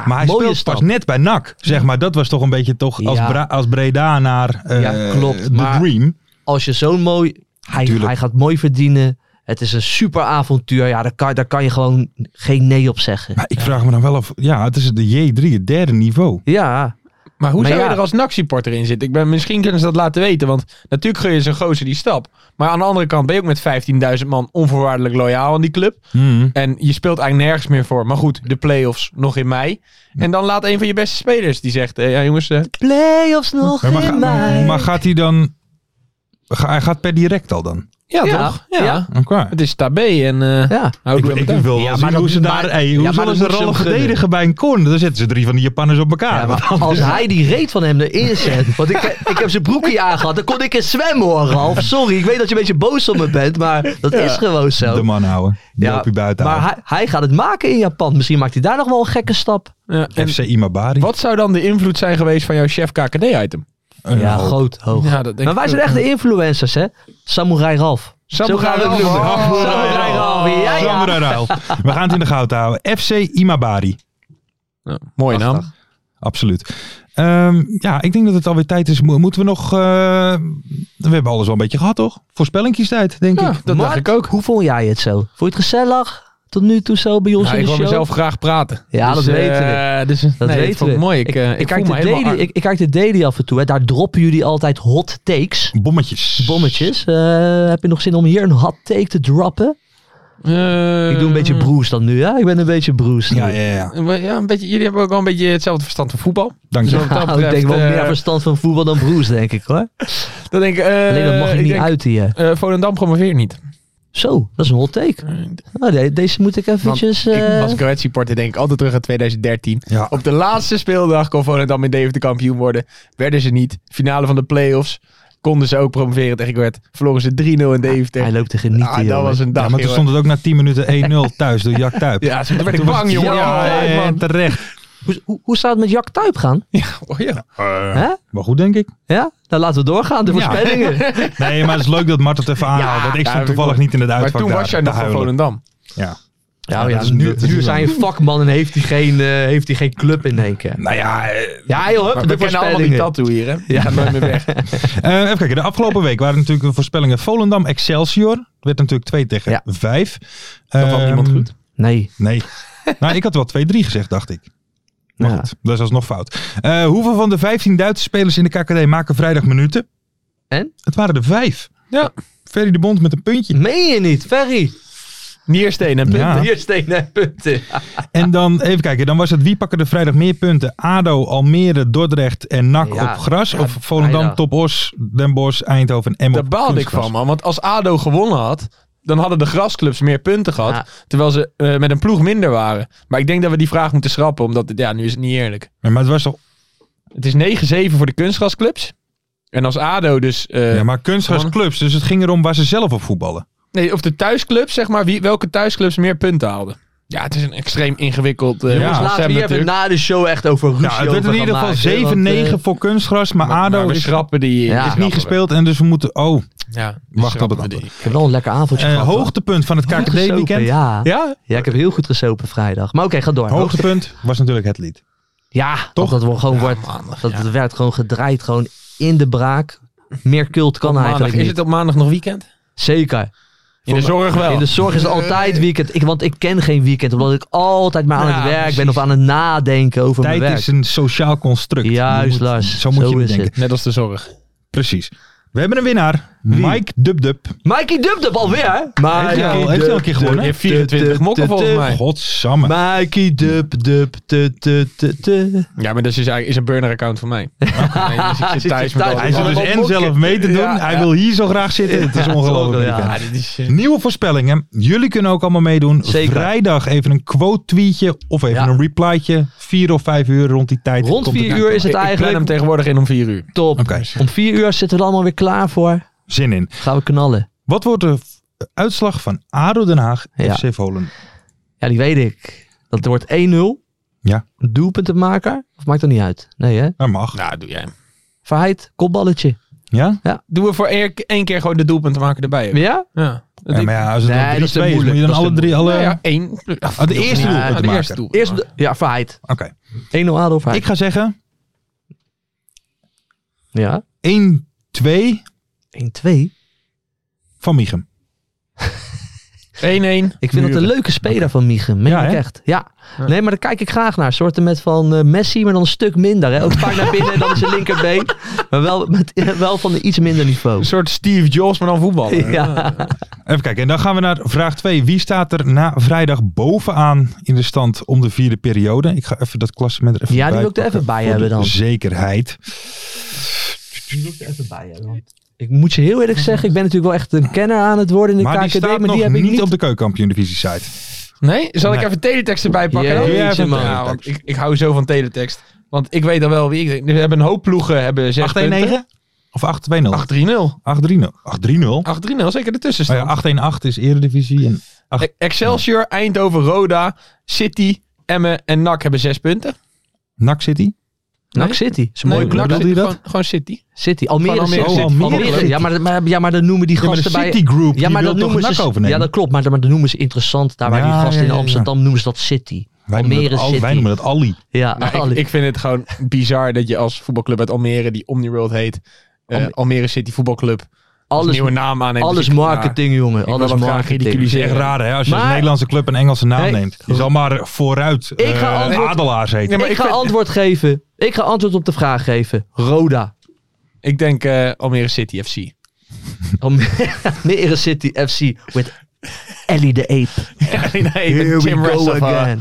maar hij
mooie
speelt
stap.
pas net bij NAC, zeg maar. Dat was toch een beetje toch als,
Ja.
Bra- als Breda naar eh
Ja, klopt.
de
Maar-
Dream.
als je zo'n mooi. Hij,
Tuurlijk.
hij gaat mooi verdienen. Het is een super avontuur. Ja, daar kan, daar kan je gewoon geen nee op zeggen.
Maar ik vraag me dan wel af, ja, het is de J3, het derde niveau.
Ja,
Maar hoe
Maar
zou
ja.
je er als NAC-supporter in zitten? Ik ben, misschien kunnen ze dat laten weten. Want natuurlijk gun je zo'n gozer die stap. Maar aan de andere kant ben je ook met 15.000 man onvoorwaardelijk loyaal aan die club.
Hmm.
En je speelt eigenlijk nergens meer voor. Maar goed, de play-offs nog in mei. En dan laat een van je beste spelers die zegt... eh, ja jongens, eh,
playoffs nog
Maar,
in mei.
ga- maar gaat hij dan... Ga, hij gaat per direct al dan?
ja,
Ja,
toch? Ja.
ja.
Oké.
Het is tabé en... eh
Ja,
hou
Ik,
er
ik wil
aan.
wel
Ja, maar
zien hoe
dat-
ze
maar-
daar... Hey, hoe
ja, maar
zullen
dat
ze
moet ze
rollen
hem gunnen.
verdedigen bij een corner? Dan zetten ze drie van die Japanners op elkaar.
Ja, maar als hij die reet van hem erin zet. Want ik, ik heb zijn broekje aangehad. Dan kon ik in zwemmen hoor, Ralf. Sorry, ik weet dat je een beetje boos op me bent. Maar dat is gewoon zo.
de man houden. Die
ja,
loop je buiten
maar
uit.
hij, hij gaat het maken in Japan. Misschien maakt hij daar nog wel een gekke stap.
Ja, en
FC Imabari.
wat zou dan de invloed zijn geweest van jouw chef KKD-item?
Een
ja,
hoop.
groot, hoog.
Ja, dat denk
maar wij
ik
zijn
ook.
echt de influencers, hè? Samurai Ralf.
Samurai
Zo gaan we het
Ralf.
noemen.
Oh.
Samurai Ralf. Ja, ja.
Samurai Rauw. We gaan het in de gaten houden. FC Imabari.
Ja, mooie naam.
Absoluut. Ehm, ja, ik denk dat het alweer tijd is. Mo- Moeten we nog... eh, we hebben alles wel een beetje gehad, toch? Voorspellingjes tijd, denk
Ja,
ik.
dat
Mark,
dacht ik ook.
Hoe vond jij het zo? Vond je het gezellig tot nu toe zo bij ons
Nou,
in
ik
de
wil
show?
mezelf graag praten.
Ja, dat weten
we. Dus,
Dat
nee, dat
weten
vond ik
we.
mooi. Ik, eh, ik,
kijk
voel
de
me helemaal...
daily,
ar-
ik, ik kijk de daily af en toe. Hè. Daar droppen jullie altijd hot takes.
Bommetjes.
Bommetjes. Eh, heb je nog zin om hier een hot take te droppen?
Eh,
ik doe een beetje broes dan nu, hè? Ik ben een beetje broes.
Ja, ja, ja.
eh, Ja, een beetje, jullie hebben ook wel een beetje hetzelfde verstand van voetbal.
Dank je.
Zo. wat dat
ik denk wel
betreft,
meer
eh,
verstand van voetbal dan broes, denk ik hoor.
Dan denk ik, eh,
Alleen dat mag je
ik
niet
denk,
uit hier.
eh, Volendam promoveert niet.
Zo, dat is een hot
Eh,
take. Nou, de- deze moet ik eventjes... eh,
Ik, als Goethe supporter denk ik altijd terug aan 2013.
Ja.
Op de laatste speeldag kon Volendam in Deventer kampioen worden. Werden ze niet. Finale van de play-offs konden ze ook promoveren tegen Goethe. Verloren ze 3-0 in Deventer.
hij loopt te genieten,
ah, dat
jongen.
was een dag,
Ja, maar toen
jongen.
stond het ook na 10 minuten 1-0 thuis door Jack Tuip.
Ja, toen werd ik
was het-
bang, jongen.
Ja,
Ja,
eh,
man.
terecht.
Hoe, hoe, hoe zou het met Jack Tuip gaan?
Oh, ja.
Hè?
Maar goed, denk ik.
Ja? Nou, laten we doorgaan. De
Ja.
voorspellingen.
Nee, maar het is leuk dat Mart het even aanhaalt. want ik
ja,
stond
heb ik
toevallig
wel.
niet in het
Maar
uitvak
toen
daar
was jij
te
nog van
huilen.
Volendam.
Ja.
Ja,
dat
ja
is-
nu,
dat is
nu
wel-
is hij een vakman en heeft hij geen, eh, heeft hij geen club in één keer.
Nou ja, eh,
Ja, joh, hup,
Maar we
de
kennen allemaal
voorspellingen.
die tattoo hier, hè? Die gaat nooit meer weg.
Eh, even kijken, de afgelopen week waren natuurlijk de voorspellingen Volendam Excelsior. Het werd natuurlijk 2 tegen
Ja.
5.
Dat valt niemand goed.
Nee.
Nee. nou, ik had wel 2-3 gezegd, dacht ik. Maar
Ja.
goed, dat is alsnog fout. Eh, hoeveel van de 15 Duitse spelers in de KKD maken vrijdag minuten?
En?
Het waren er vijf.
Ja.
Ferry de Bond met een puntje.
Meen je niet, Ferry?
Niersteen en punten.
Ja.
Hier steen en punten.
En dan, even kijken, dan was het wie pakken er vrijdag meer punten? ADO, Almere, Dordrecht en NAC
Ja.
op gras?
Ja,
of Volendam,
bijna.
Top Os, Den Bosch, Eindhoven en Emmen
Daar
op
baalde ik
kunstgras?
van, man. Want als ADO gewonnen had, dan hadden de grasclubs meer punten gehad.
Ja.
Terwijl ze eh, met een ploeg minder waren. Maar ik denk dat we die vraag moeten schrappen, omdat ja, nu is het niet eerlijk.
Ja, maar het was toch...
Het is 9-7 voor de kunstgrasclubs. En als ADO dus... eh,
ja, maar kunstgras
gewonnen.
clubs, dus het ging erom waar ze zelf op voetballen.
nee, of de thuisclubs, zeg maar. Wie, welke thuisclubs meer punten haalden. Ja, het is een extreem ingewikkeld... eh,
Ja.
Dus laten we
concept
hier even
natuurlijk.
na de show echt over ruzie
Ja, het werd
over
in
gaan
ieder geval
maken, want, eh,
7-9 voor kunstgras, maar,
Maar
ADO
we
is,
schrappen die...
Ja.
die
is
schrappen
niet
we.
gespeeld. En dus we moeten... Oh,
Ja,
Wacht op het
antwoord.
Ik heb wel een lekker avondje
Eh,
gehad. hoor.
hoogtepunt van het
Gesopen,
KKD-weekend.
Ja.
Ja?
ja, ik heb heel goed gesopen vrijdag. Maar oké, ga door. Hoogte-
Hoogtepunt was natuurlijk het lied.
Ja,
Toch?
toch? Dat, wordt gewoon wordt, dat het werd gewoon gedraaid, gewoon in de braak. Meer cult kan
Maandag.
eigenlijk
Is
niet.
het op maandag nog weekend?
Zeker.
In de zorg wel.
In de zorg is het altijd weekend. Ik, want ik ken geen weekend, omdat ik altijd maar aan
Ja,
het werk ben
precies.
of aan het nadenken over
Tijd
mijn werk.
is een sociaal construct.
Juist,
Je moet-
Lars.
Zo moet
Zo
je het
is
denken.
Net als de zorg.
Precies. We hebben een winnaar. Mike Dubdub.
Mikey Dubdub alweer. Mikey
Ah, hij al- heeft hij al een keer gewonnen?
Dub,
Je hebt 24
dub,
mokken
dub,
volgens
dub.
mij.
Godsamme.
Mikey Dub Dub tu, tu, tu, tu.
Ja, maar dat is, eigenlijk- is een burner-account voor mij. Nee, dus ik
Zit
zit thuis
je
met
thuis?
al
Hij zit
Allemaal
dus en
mokken.
zelf mee te doen.
Ja,
hij
ja.
wil hier zo graag zitten. Het is ongelooflijk.
Ja,
weekend.
dit is...
Nieuwe voorspellingen. Jullie kunnen ook allemaal meedoen.
Zeker.
Vrijdag even een quote tweetje of even
Ja.
een replytje. Vier of vijf uur rond die tijd.
Rond
komt het
4
uit.
uur is het
ik, ik plan hem
eigenlijk
tegenwoordig in om 4 uur.
top.
Oké,
Om 4 uur zitten we er allemaal weer klaar voor.
zin in.
Gaan we knallen.
Wat wordt de f- uitslag van ADO Den Haag
Ja.
FC Volendam?
Ja, die weet ik. Dat wordt 1-0.
Ja.
Doelpuntenmaker. Of maakt dat niet uit? Nee hè?
Dat mag.
Nou, doe jij. hem.
Verheid, kopballetje.
Ja?
Doen we voor één één keer gewoon de doelpunten maken erbij. hè?
Ja?
Ja.
ja maar ja, als het
Nee,
dan
dat is te
3-2 is, moet
moeilijk.
je dan
Dat is
alle
te
drie... Alle...
Nou ja, één.
Ah, de eerste
Ja,
doelpunt
de
maken.
eerste doelpunt
Eerst,
maken.
ja, Verheid. 1-0
Oké.
ADO Verheid.
Ik ga zeggen
Ja.
1-2
1-2.
van Michem.
1-1.
Ik vind dat een leuke speler van Miegen. Meen
Ja,
ik
hè?
echt. Ja.
Ja.
Nee, maar daar kijk ik graag naar. Soorten met van eh, Messi, maar dan een stuk minder. Hè? Ook vaak naar binnen en dan zijn linkerbeen. Maar wel, met, eh, wel van een iets minder niveau.
Een soort Steve Jobs, maar dan voetballen.
Ja.
Even kijken. En dan gaan we naar vraag 2. Wie staat er na vrijdag bovenaan in de stand om de vierde periode? Ik ga even dat klassement er even
Ja, die
bij
wil ik er even
pakken
bij
voor
hebben
de
dan.
Zekerheid.
Ik moet je heel eerlijk zeggen, ik ben natuurlijk wel echt een kenner aan het worden in de
maar die
KKD.
staat
maar
nog
die heb ik
niet,
niet
op de keukenkampioen divisie site.
Nee? Zal ik
Nee.
even teletext erbij pakken?
Jeetje,
dan?
Doe jij even
man.
Ja, want
teletext.
ik, ik hou zo van teletext. Want ik weet dan wel wie ik... We hebben een hoop ploegen, hebben 6 punten.
819 of 820?
8-3-0.
830. 830.
8-3-0, zeker de
Oh
tussenstand.
ja, 818 is eredivisie en
E- Excelsior, Eindhoven, Roda, City, Emmen en NAC hebben 6 punten.
NAC City.
NAC City. Is een mooie
Nee,
club.
NAC
bedoelde je
City,
dat?
Gewoon, gewoon City.
City. Almere
Van Almere
City.
City.
Oh, Almere
Almere City.
City.
Ja, maar, maar, ja, maar dan noemen die
Ja, maar de
gasten bij...
City Group
Ja, maar
die
dat
wil toch
noemen ze...
NAC
Ja,
overnemen?
dat klopt. Maar, dan- maar dan noemen ze interessant. Daar waar die
Ja,
gasten
ja, ja,
in
ja.
Amsterdam noemen ze dat City.
wij, noemen
Almere
dat al,
City.
wij noemen dat Ali.
Ja,
Nou, ik-
alle-
ik, vind het gewoon bizar dat je als voetbalclub uit Almere, die Omniworld heet, eh,
Alme-
Almere City Voetbalclub, als
alles,
nieuwe naam aanneemt. Dus
alles
ik-
marketing, jongen.
wil
Alles
dat graag
marketing.
ridiculiseren.
Echt raar hè, als je
Maar-
als Nederlandse club een Engelse naam
Nee.
neemt. Je zal maar vooruit
Ik ga
eh,
antwoord-
Adelaars heten.
Nee, maar
ik,
ik
ga
vind-
antwoord geven. Ik ga antwoord op de vraag geven. Roda.
Nou, ik denk eh, Almere City FC.
Almere City FC with Ellie de Ape.
nee, ik ben Jim Russell van-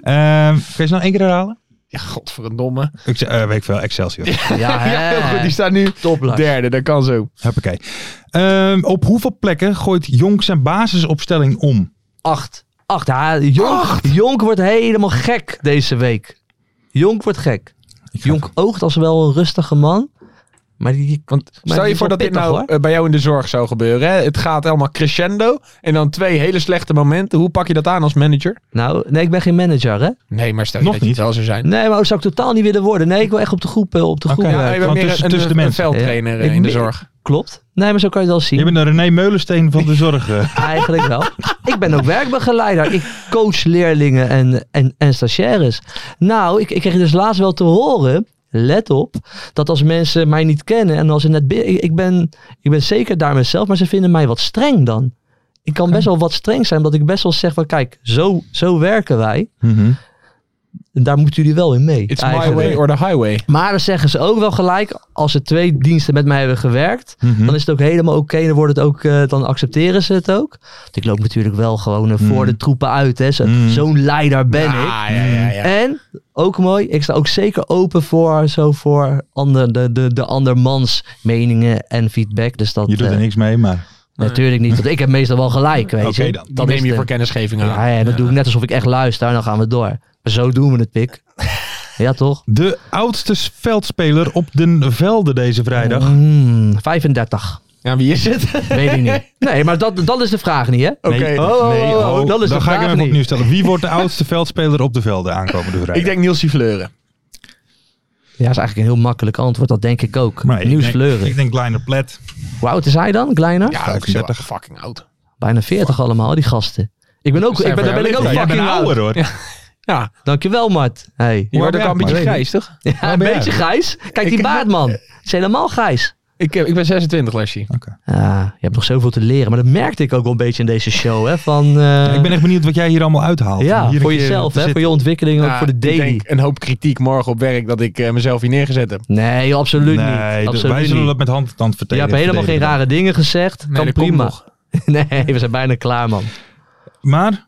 Ehm, kun je ze nog één keer herhalen?
Ja, godverdomme.
Ik zeg, eh, weet ik veel, Excelsior.
Ja,
Ja, heel goed.
hè.
Die staat nu
Top, Lars.
derde. Dat kan zo.
Hoppakee. Ehm, op hoeveel plekken gooit Jonk zijn basisopstelling om?
Acht. Acht. Ja, Jonk, Jonk wordt helemaal gek deze week. Jonk wordt gek. Jonk oogt als wel een rustige man. Maar die, die-
Want
Maar
stel
die
je
is
voor
wel
dat dit
pittig,
nou
hoor.
eh, bij jou in de zorg zou gebeuren. Hè? Het gaat helemaal crescendo. En dan twee hele slechte momenten. Hoe pak je dat aan als manager?
nou, nee, ik ben geen manager, hè?
Nee, maar stel
Nog
dat je
niet.
het wel zou zijn.
Nee, maar ook zou ik totaal niet willen worden. Nee, ik wil echt op de groep, eh, op de groep
Oké.
werken.
Ja, je bent
gewoon
meer
tussen-
een,
tussen de
een
mensen.
veldtrainer eh,
Ik
in de
mi-
zorg.
Klopt. Nee, maar zo kan je het wel zien.
Je bent de René Meulensteen van de zorg. eh.
Eigenlijk wel. Ik ben ook werkbegeleider. Ik coach leerlingen en, en, en stagiaires. Nou, ik, ik kreeg dus laatst wel te horen. Let op, dat als mensen mij niet kennen en als ze net binnen. Ik, ik ben, ik ben zeker daar mezelf, maar ze vinden mij wat streng dan. Ik kan best wel wat streng zijn, omdat ik best wel zeg van kijk, zo, zo werken wij.
Mhm.
En daar moeten jullie wel in mee.
It's my
eigenlijk.
way or the highway.
Maar dan zeggen ze ook wel gelijk, als ze twee diensten met mij hebben gewerkt,
Mhm.
dan is het ook helemaal oké. dan wordt het ook, eh, dan accepteren ze het ook. Want ik loop natuurlijk wel gewoon eh, voor de troepen uit. hè. Zo-
Mm.
Zo'n leider ben
Ah,
ik.
ja, ja, ja.
En ook mooi, ik sta ook zeker open voor, zo voor ander, de, de, de andermans meningen en feedback. Dus dat
Je doet er
eh,
niks mee, maar...
natuurlijk niet. Want ik heb meestal wel gelijk. Weet
Oké
je.
dan.
Dan
is
neem je
het.
voor kennisgeving aan.
Ja, ja, dat doe ik net alsof ik echt luister. En dan gaan we door. Maar zo doen we het, pik. Ja, toch?
De oudste veldspeler op den velden deze vrijdag.
Mm, 35.
Ja, wie is het?
Weet ik niet. Nee, maar dat, dat is de vraag niet, hè?
Oké.
Nee,
Oh, oh,
nee,
oh, oh, dat is
dan
de
ga ik
vraag
hem even
niet.
opnieuw stellen. Wie wordt de oudste veldspeler op de velden aankomende vrijdag?
Ik denk Niels Fleuren.
Ja, is eigenlijk een heel makkelijk antwoord. Dat denk ik ook.
Maar ik
Nieuws
denk-
fleuren.
Ik denk Kleiner Plet.
Hoe oud is hij dan, Kleiner?
Ja, dat is wel fucking oud.
Bijna 40 allemaal, die gasten. Ik ben ook,
zijn
ik ben,
van
daar ben
jouw
ik ook
leeftijd.
Jij bent
fucking oud.
ouder hoor.
Ja. Ja,
Dankjewel, Mart. Hey.
die wordt ook al
ben
een
jij?
beetje
Maar weet
grijs, toch?
Oh, Ja, een
ben jij?
beetje grijs. Kijk
Ik-
die baard, man. Het is helemaal grijs.
Ik, heb- ik ben 26, Lesje.
Ah, je hebt nog zoveel te leren. Maar dat merkte ik ook wel een beetje in deze show. Hè, van, eh,
Ik ben echt benieuwd wat jij hier allemaal uithaalt.
ja,
Hier een
voor
keer
jezelf,
te
hè, voor
zitten.
je ontwikkeling, ook voor de daily.
Ah, Ik denk een hoop kritiek morgen op werk dat ik eh, mezelf hier neergezet heb.
Nee, joh, absoluut
Nee,
niet.
dus
Absoluut
wij zullen
niet.
dat met hand en tand
Je
verdedigen.
hebt helemaal geen rare dingen gezegd.
Nee,
kan
dat komt
prima.
nog.
Nee, we zijn bijna klaar, man.
Maar,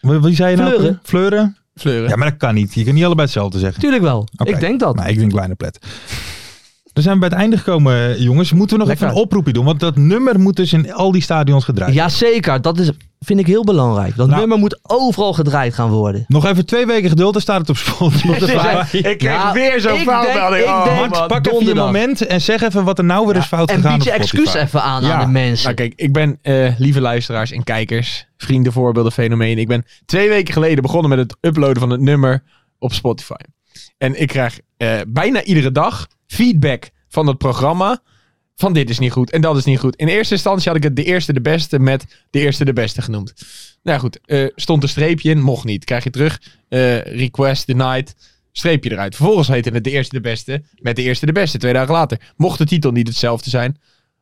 wie wie zei je nou?
Fleuren.
Fleuren?
Fleuren.
Ja, maar dat kan niet. Je kan niet allebei hetzelfde zeggen.
Tuurlijk wel.
Oké.
Ik denk dat.
Nee, ik denk kleine plet. Dan zijn we bij het einde gekomen, eh, jongens. Moeten we nog
Lekker.
even een oproepje doen? Want dat nummer moet dus in al die stadions gedraaid.
Jazeker, dat is, vind ik heel belangrijk. Dat
Nou.
nummer moet overal gedraaid gaan worden. Dus
Nog even twee weken geduld, dan staat het op Spotify.
Ik kreeg
Nou,
weer zo'n
ik
foutmelding.
denk- ik
Oh,
denk-
man.
Wat
Pak even je
donderdag.
moment en zeg even wat er nou weer is fout
en
gegaan
bied je
op
excuus
Spotify.
even aan
Ja.
aan de mensen.
Nou kijk, ik ben, eh, lieve luisteraars en kijkers, vrienden, voorbeelden, fenomenen. Ik ben twee weken geleden begonnen met het uploaden van het nummer op Spotify. En ik krijg eh, bijna iedere dag feedback van het programma. Van dit is niet goed en dat is niet goed. In eerste instantie had ik het de eerste de beste met de eerste de beste genoemd. Nou ja, goed, eh, stond een streepje in, mocht niet. Krijg je terug, eh, request denied, streepje eruit. Vervolgens heette het de eerste de beste met de eerste de beste, twee dagen later. Mocht de titel niet hetzelfde zijn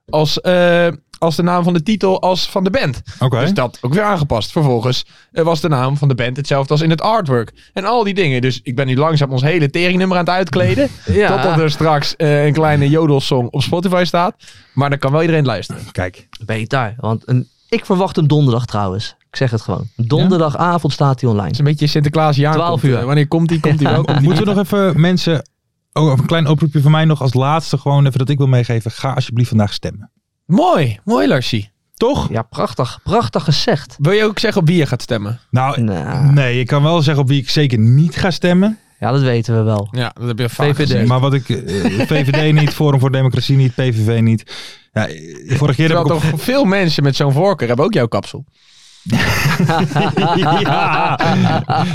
als, eh, als de naam van de titel als van de band.
Oké.
Dus dat ook weer aangepast. Vervolgens eh, was de naam van de band hetzelfde als in het artwork. En al die dingen. Dus ik ben nu langzaam ons hele teringnummer aan het uitkleden.
Ja.
Totdat er straks eh, een kleine jodelsong op Spotify staat. Maar dan kan wel iedereen luisteren.
Kijk,
Beter. Want een, ik verwacht hem donderdag trouwens. Ik zeg het gewoon. Donderdagavond staat hij online.
Het is een beetje Sinterklaas jaar.
12
komt,
uur.
eh, Wanneer komt die? Komt die wel? Komt die
moeten we
niet?
nog even mensen... Oh, of een klein oproepje van mij nog als laatste. Gewoon even dat ik wil meegeven. Ga alsjeblieft vandaag stemmen.
Mooi, mooi Larsie. Toch?
Ja, prachtig. Prachtig gezegd.
Wil je ook zeggen op wie je gaat stemmen?
Nou,
Nou.
nee, ik kan wel zeggen op wie ik zeker niet ga stemmen.
Ja, dat weten we wel.
Ja, dat heb je
vaak VVD. gezegd.
Maar wat ik... eh, VVD niet, Forum voor Democratie niet, PVV niet. Ja, eh, vorige keer heb ik
Terwijl
op
toch veel mensen met zo'n voorkeur hebben ook jouw kapsel.
ja.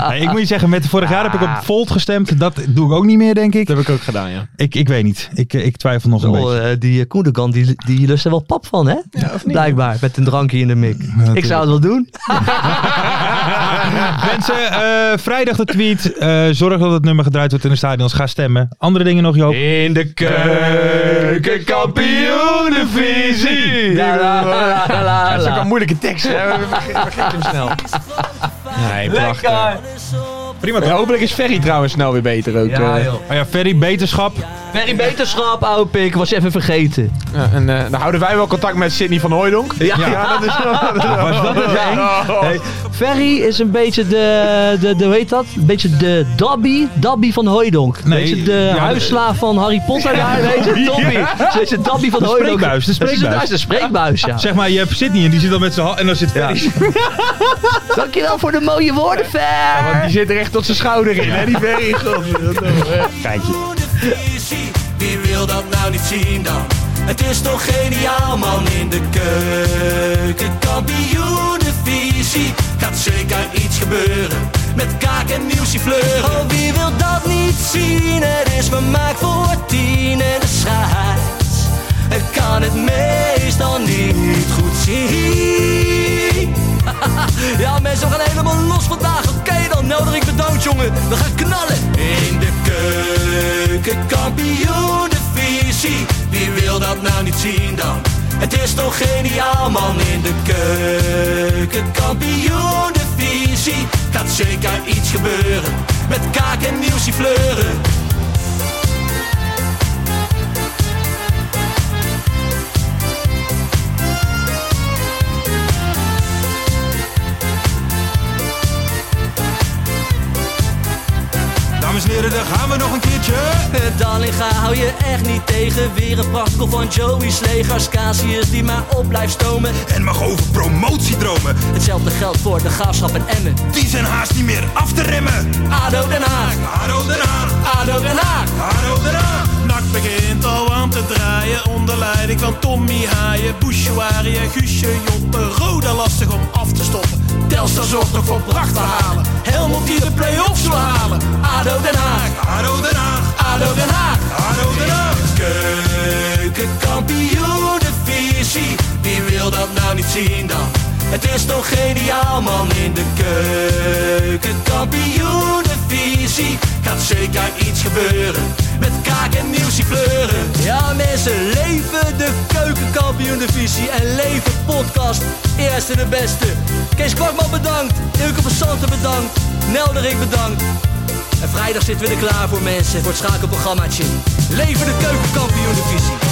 Nee, ik moet je zeggen, met vorig jaar heb ik
Ah.
op Volt gestemd. Dat doe ik ook niet meer, denk ik.
Dat heb ik ook gedaan, ja.
Ik, ik weet niet. Ik, eh, ik twijfel nog een
Oh,
beetje.
eh, die eh, Koendergan, die, die lust er wel pap van, hè? Blijkbaar, met een drankje in de mik. ik zou het wel doen.
Mensen, eh, vrijdag de tweet. Eh, zorg dat het nummer gedraaid wordt in de stadions. Ga stemmen. Andere dingen nog, Joop?
In de keukenkampioenenvisie.
La, la, la, la, la.
Dat is ook een moeilijke tekst. hè. We vergeten hem snel. Nee, prachtig. Prima. hopelijk is Ferry trouwens snel weer beter ook.
Ja,
eh.
Ah, joh.
Oh ja, Ferry, beterschap.
Ferry Beterschap, ouwe pik. Was je even vergeten.
Ja, en eh, dan houden wij wel contact met Sydney van Hooydonk.
Ja.
dat is wel...
Was dat het eng?
Hey, Ferry is een beetje de, de, de, hoe heet dat? Een beetje de Dobby, Dobby van Hooidonk.
Nee,
beetje de
ja, de-
huisslaaf van Harry Potter. Ja, weet je, Dobby. Een beetje Dobby van
De
Hooidonk.
spreekbuis, de
Dat
spreekbuis.
is een- Dat is een spreekbuis, ja.
Zeg maar, je hebt Sydney en die zit al met zijn hand. En dan zit Ferry.
Dankjewel voor de mooie woorden, Fer.
Want die zit er echt tot zijn schouder in, hè, die Ferry. eh.
Wie wil dat nou niet zien dan? Het is toch geniaal man in de keuken. Kampioenenvisie. Gaat zeker iets gebeuren. Met kaak en nieuwsje fleuren. Oh, wie wil dat niet zien? Het is vermaakt voor tien en de scheids. Ik kan het meestal niet goed zien. Ja, mensen, we gaan helemaal los vandaag. Oké, dan nodig ik bedankt, jongen. We gaan knallen. In de keuken, kampioenenvisie. Wie wil dat nou niet zien dan? Het is toch geniaal, man. In de keuken, kampioenenvisie. Gaat zeker iets gebeuren. Met kaak en nieuwsie fleuren.
Dames en heren, daar gaan we nog een keertje.
Eh, Dallinga hou je echt niet tegen. Weer een prachtkel van Joey's legers. Casius die maar op blijft stomen.
En mag over promotiedromen.
Hetzelfde geldt voor de gaafschap en Emmen.
Die zijn haast niet meer af te remmen.
ADO Den Haag,
Haro Den Haag,
ADO Den Haag.
Haro Den Haag.
Nak begint al aan te draaien onder leiding van Tommy Haaien, Bouchouari en Guusje Joppen. Roda lastig om af te stoppen. Telstar zorgt nog voor pracht te halen. Helmond die de play-offs wil halen. ADO Den Haag, ADO Den Haag, ADO Den Haag.
dat nou niet zien dan? Het is toch geniaal man in de keuken. Kampioenenvisie gaat zeker iets gebeuren. Met kaak en nieuwsie pleuren. Ja mensen, leven de keukenkampioenenvisie en leven podcast. Eerste de beste. Kees Kwakman bedankt. Ilke van Santen bedankt. Nelderik bedankt. En vrijdag zitten we er klaar voor mensen. Voor het schakelprogrammaatje. Leven de keukenkampioenenvisie.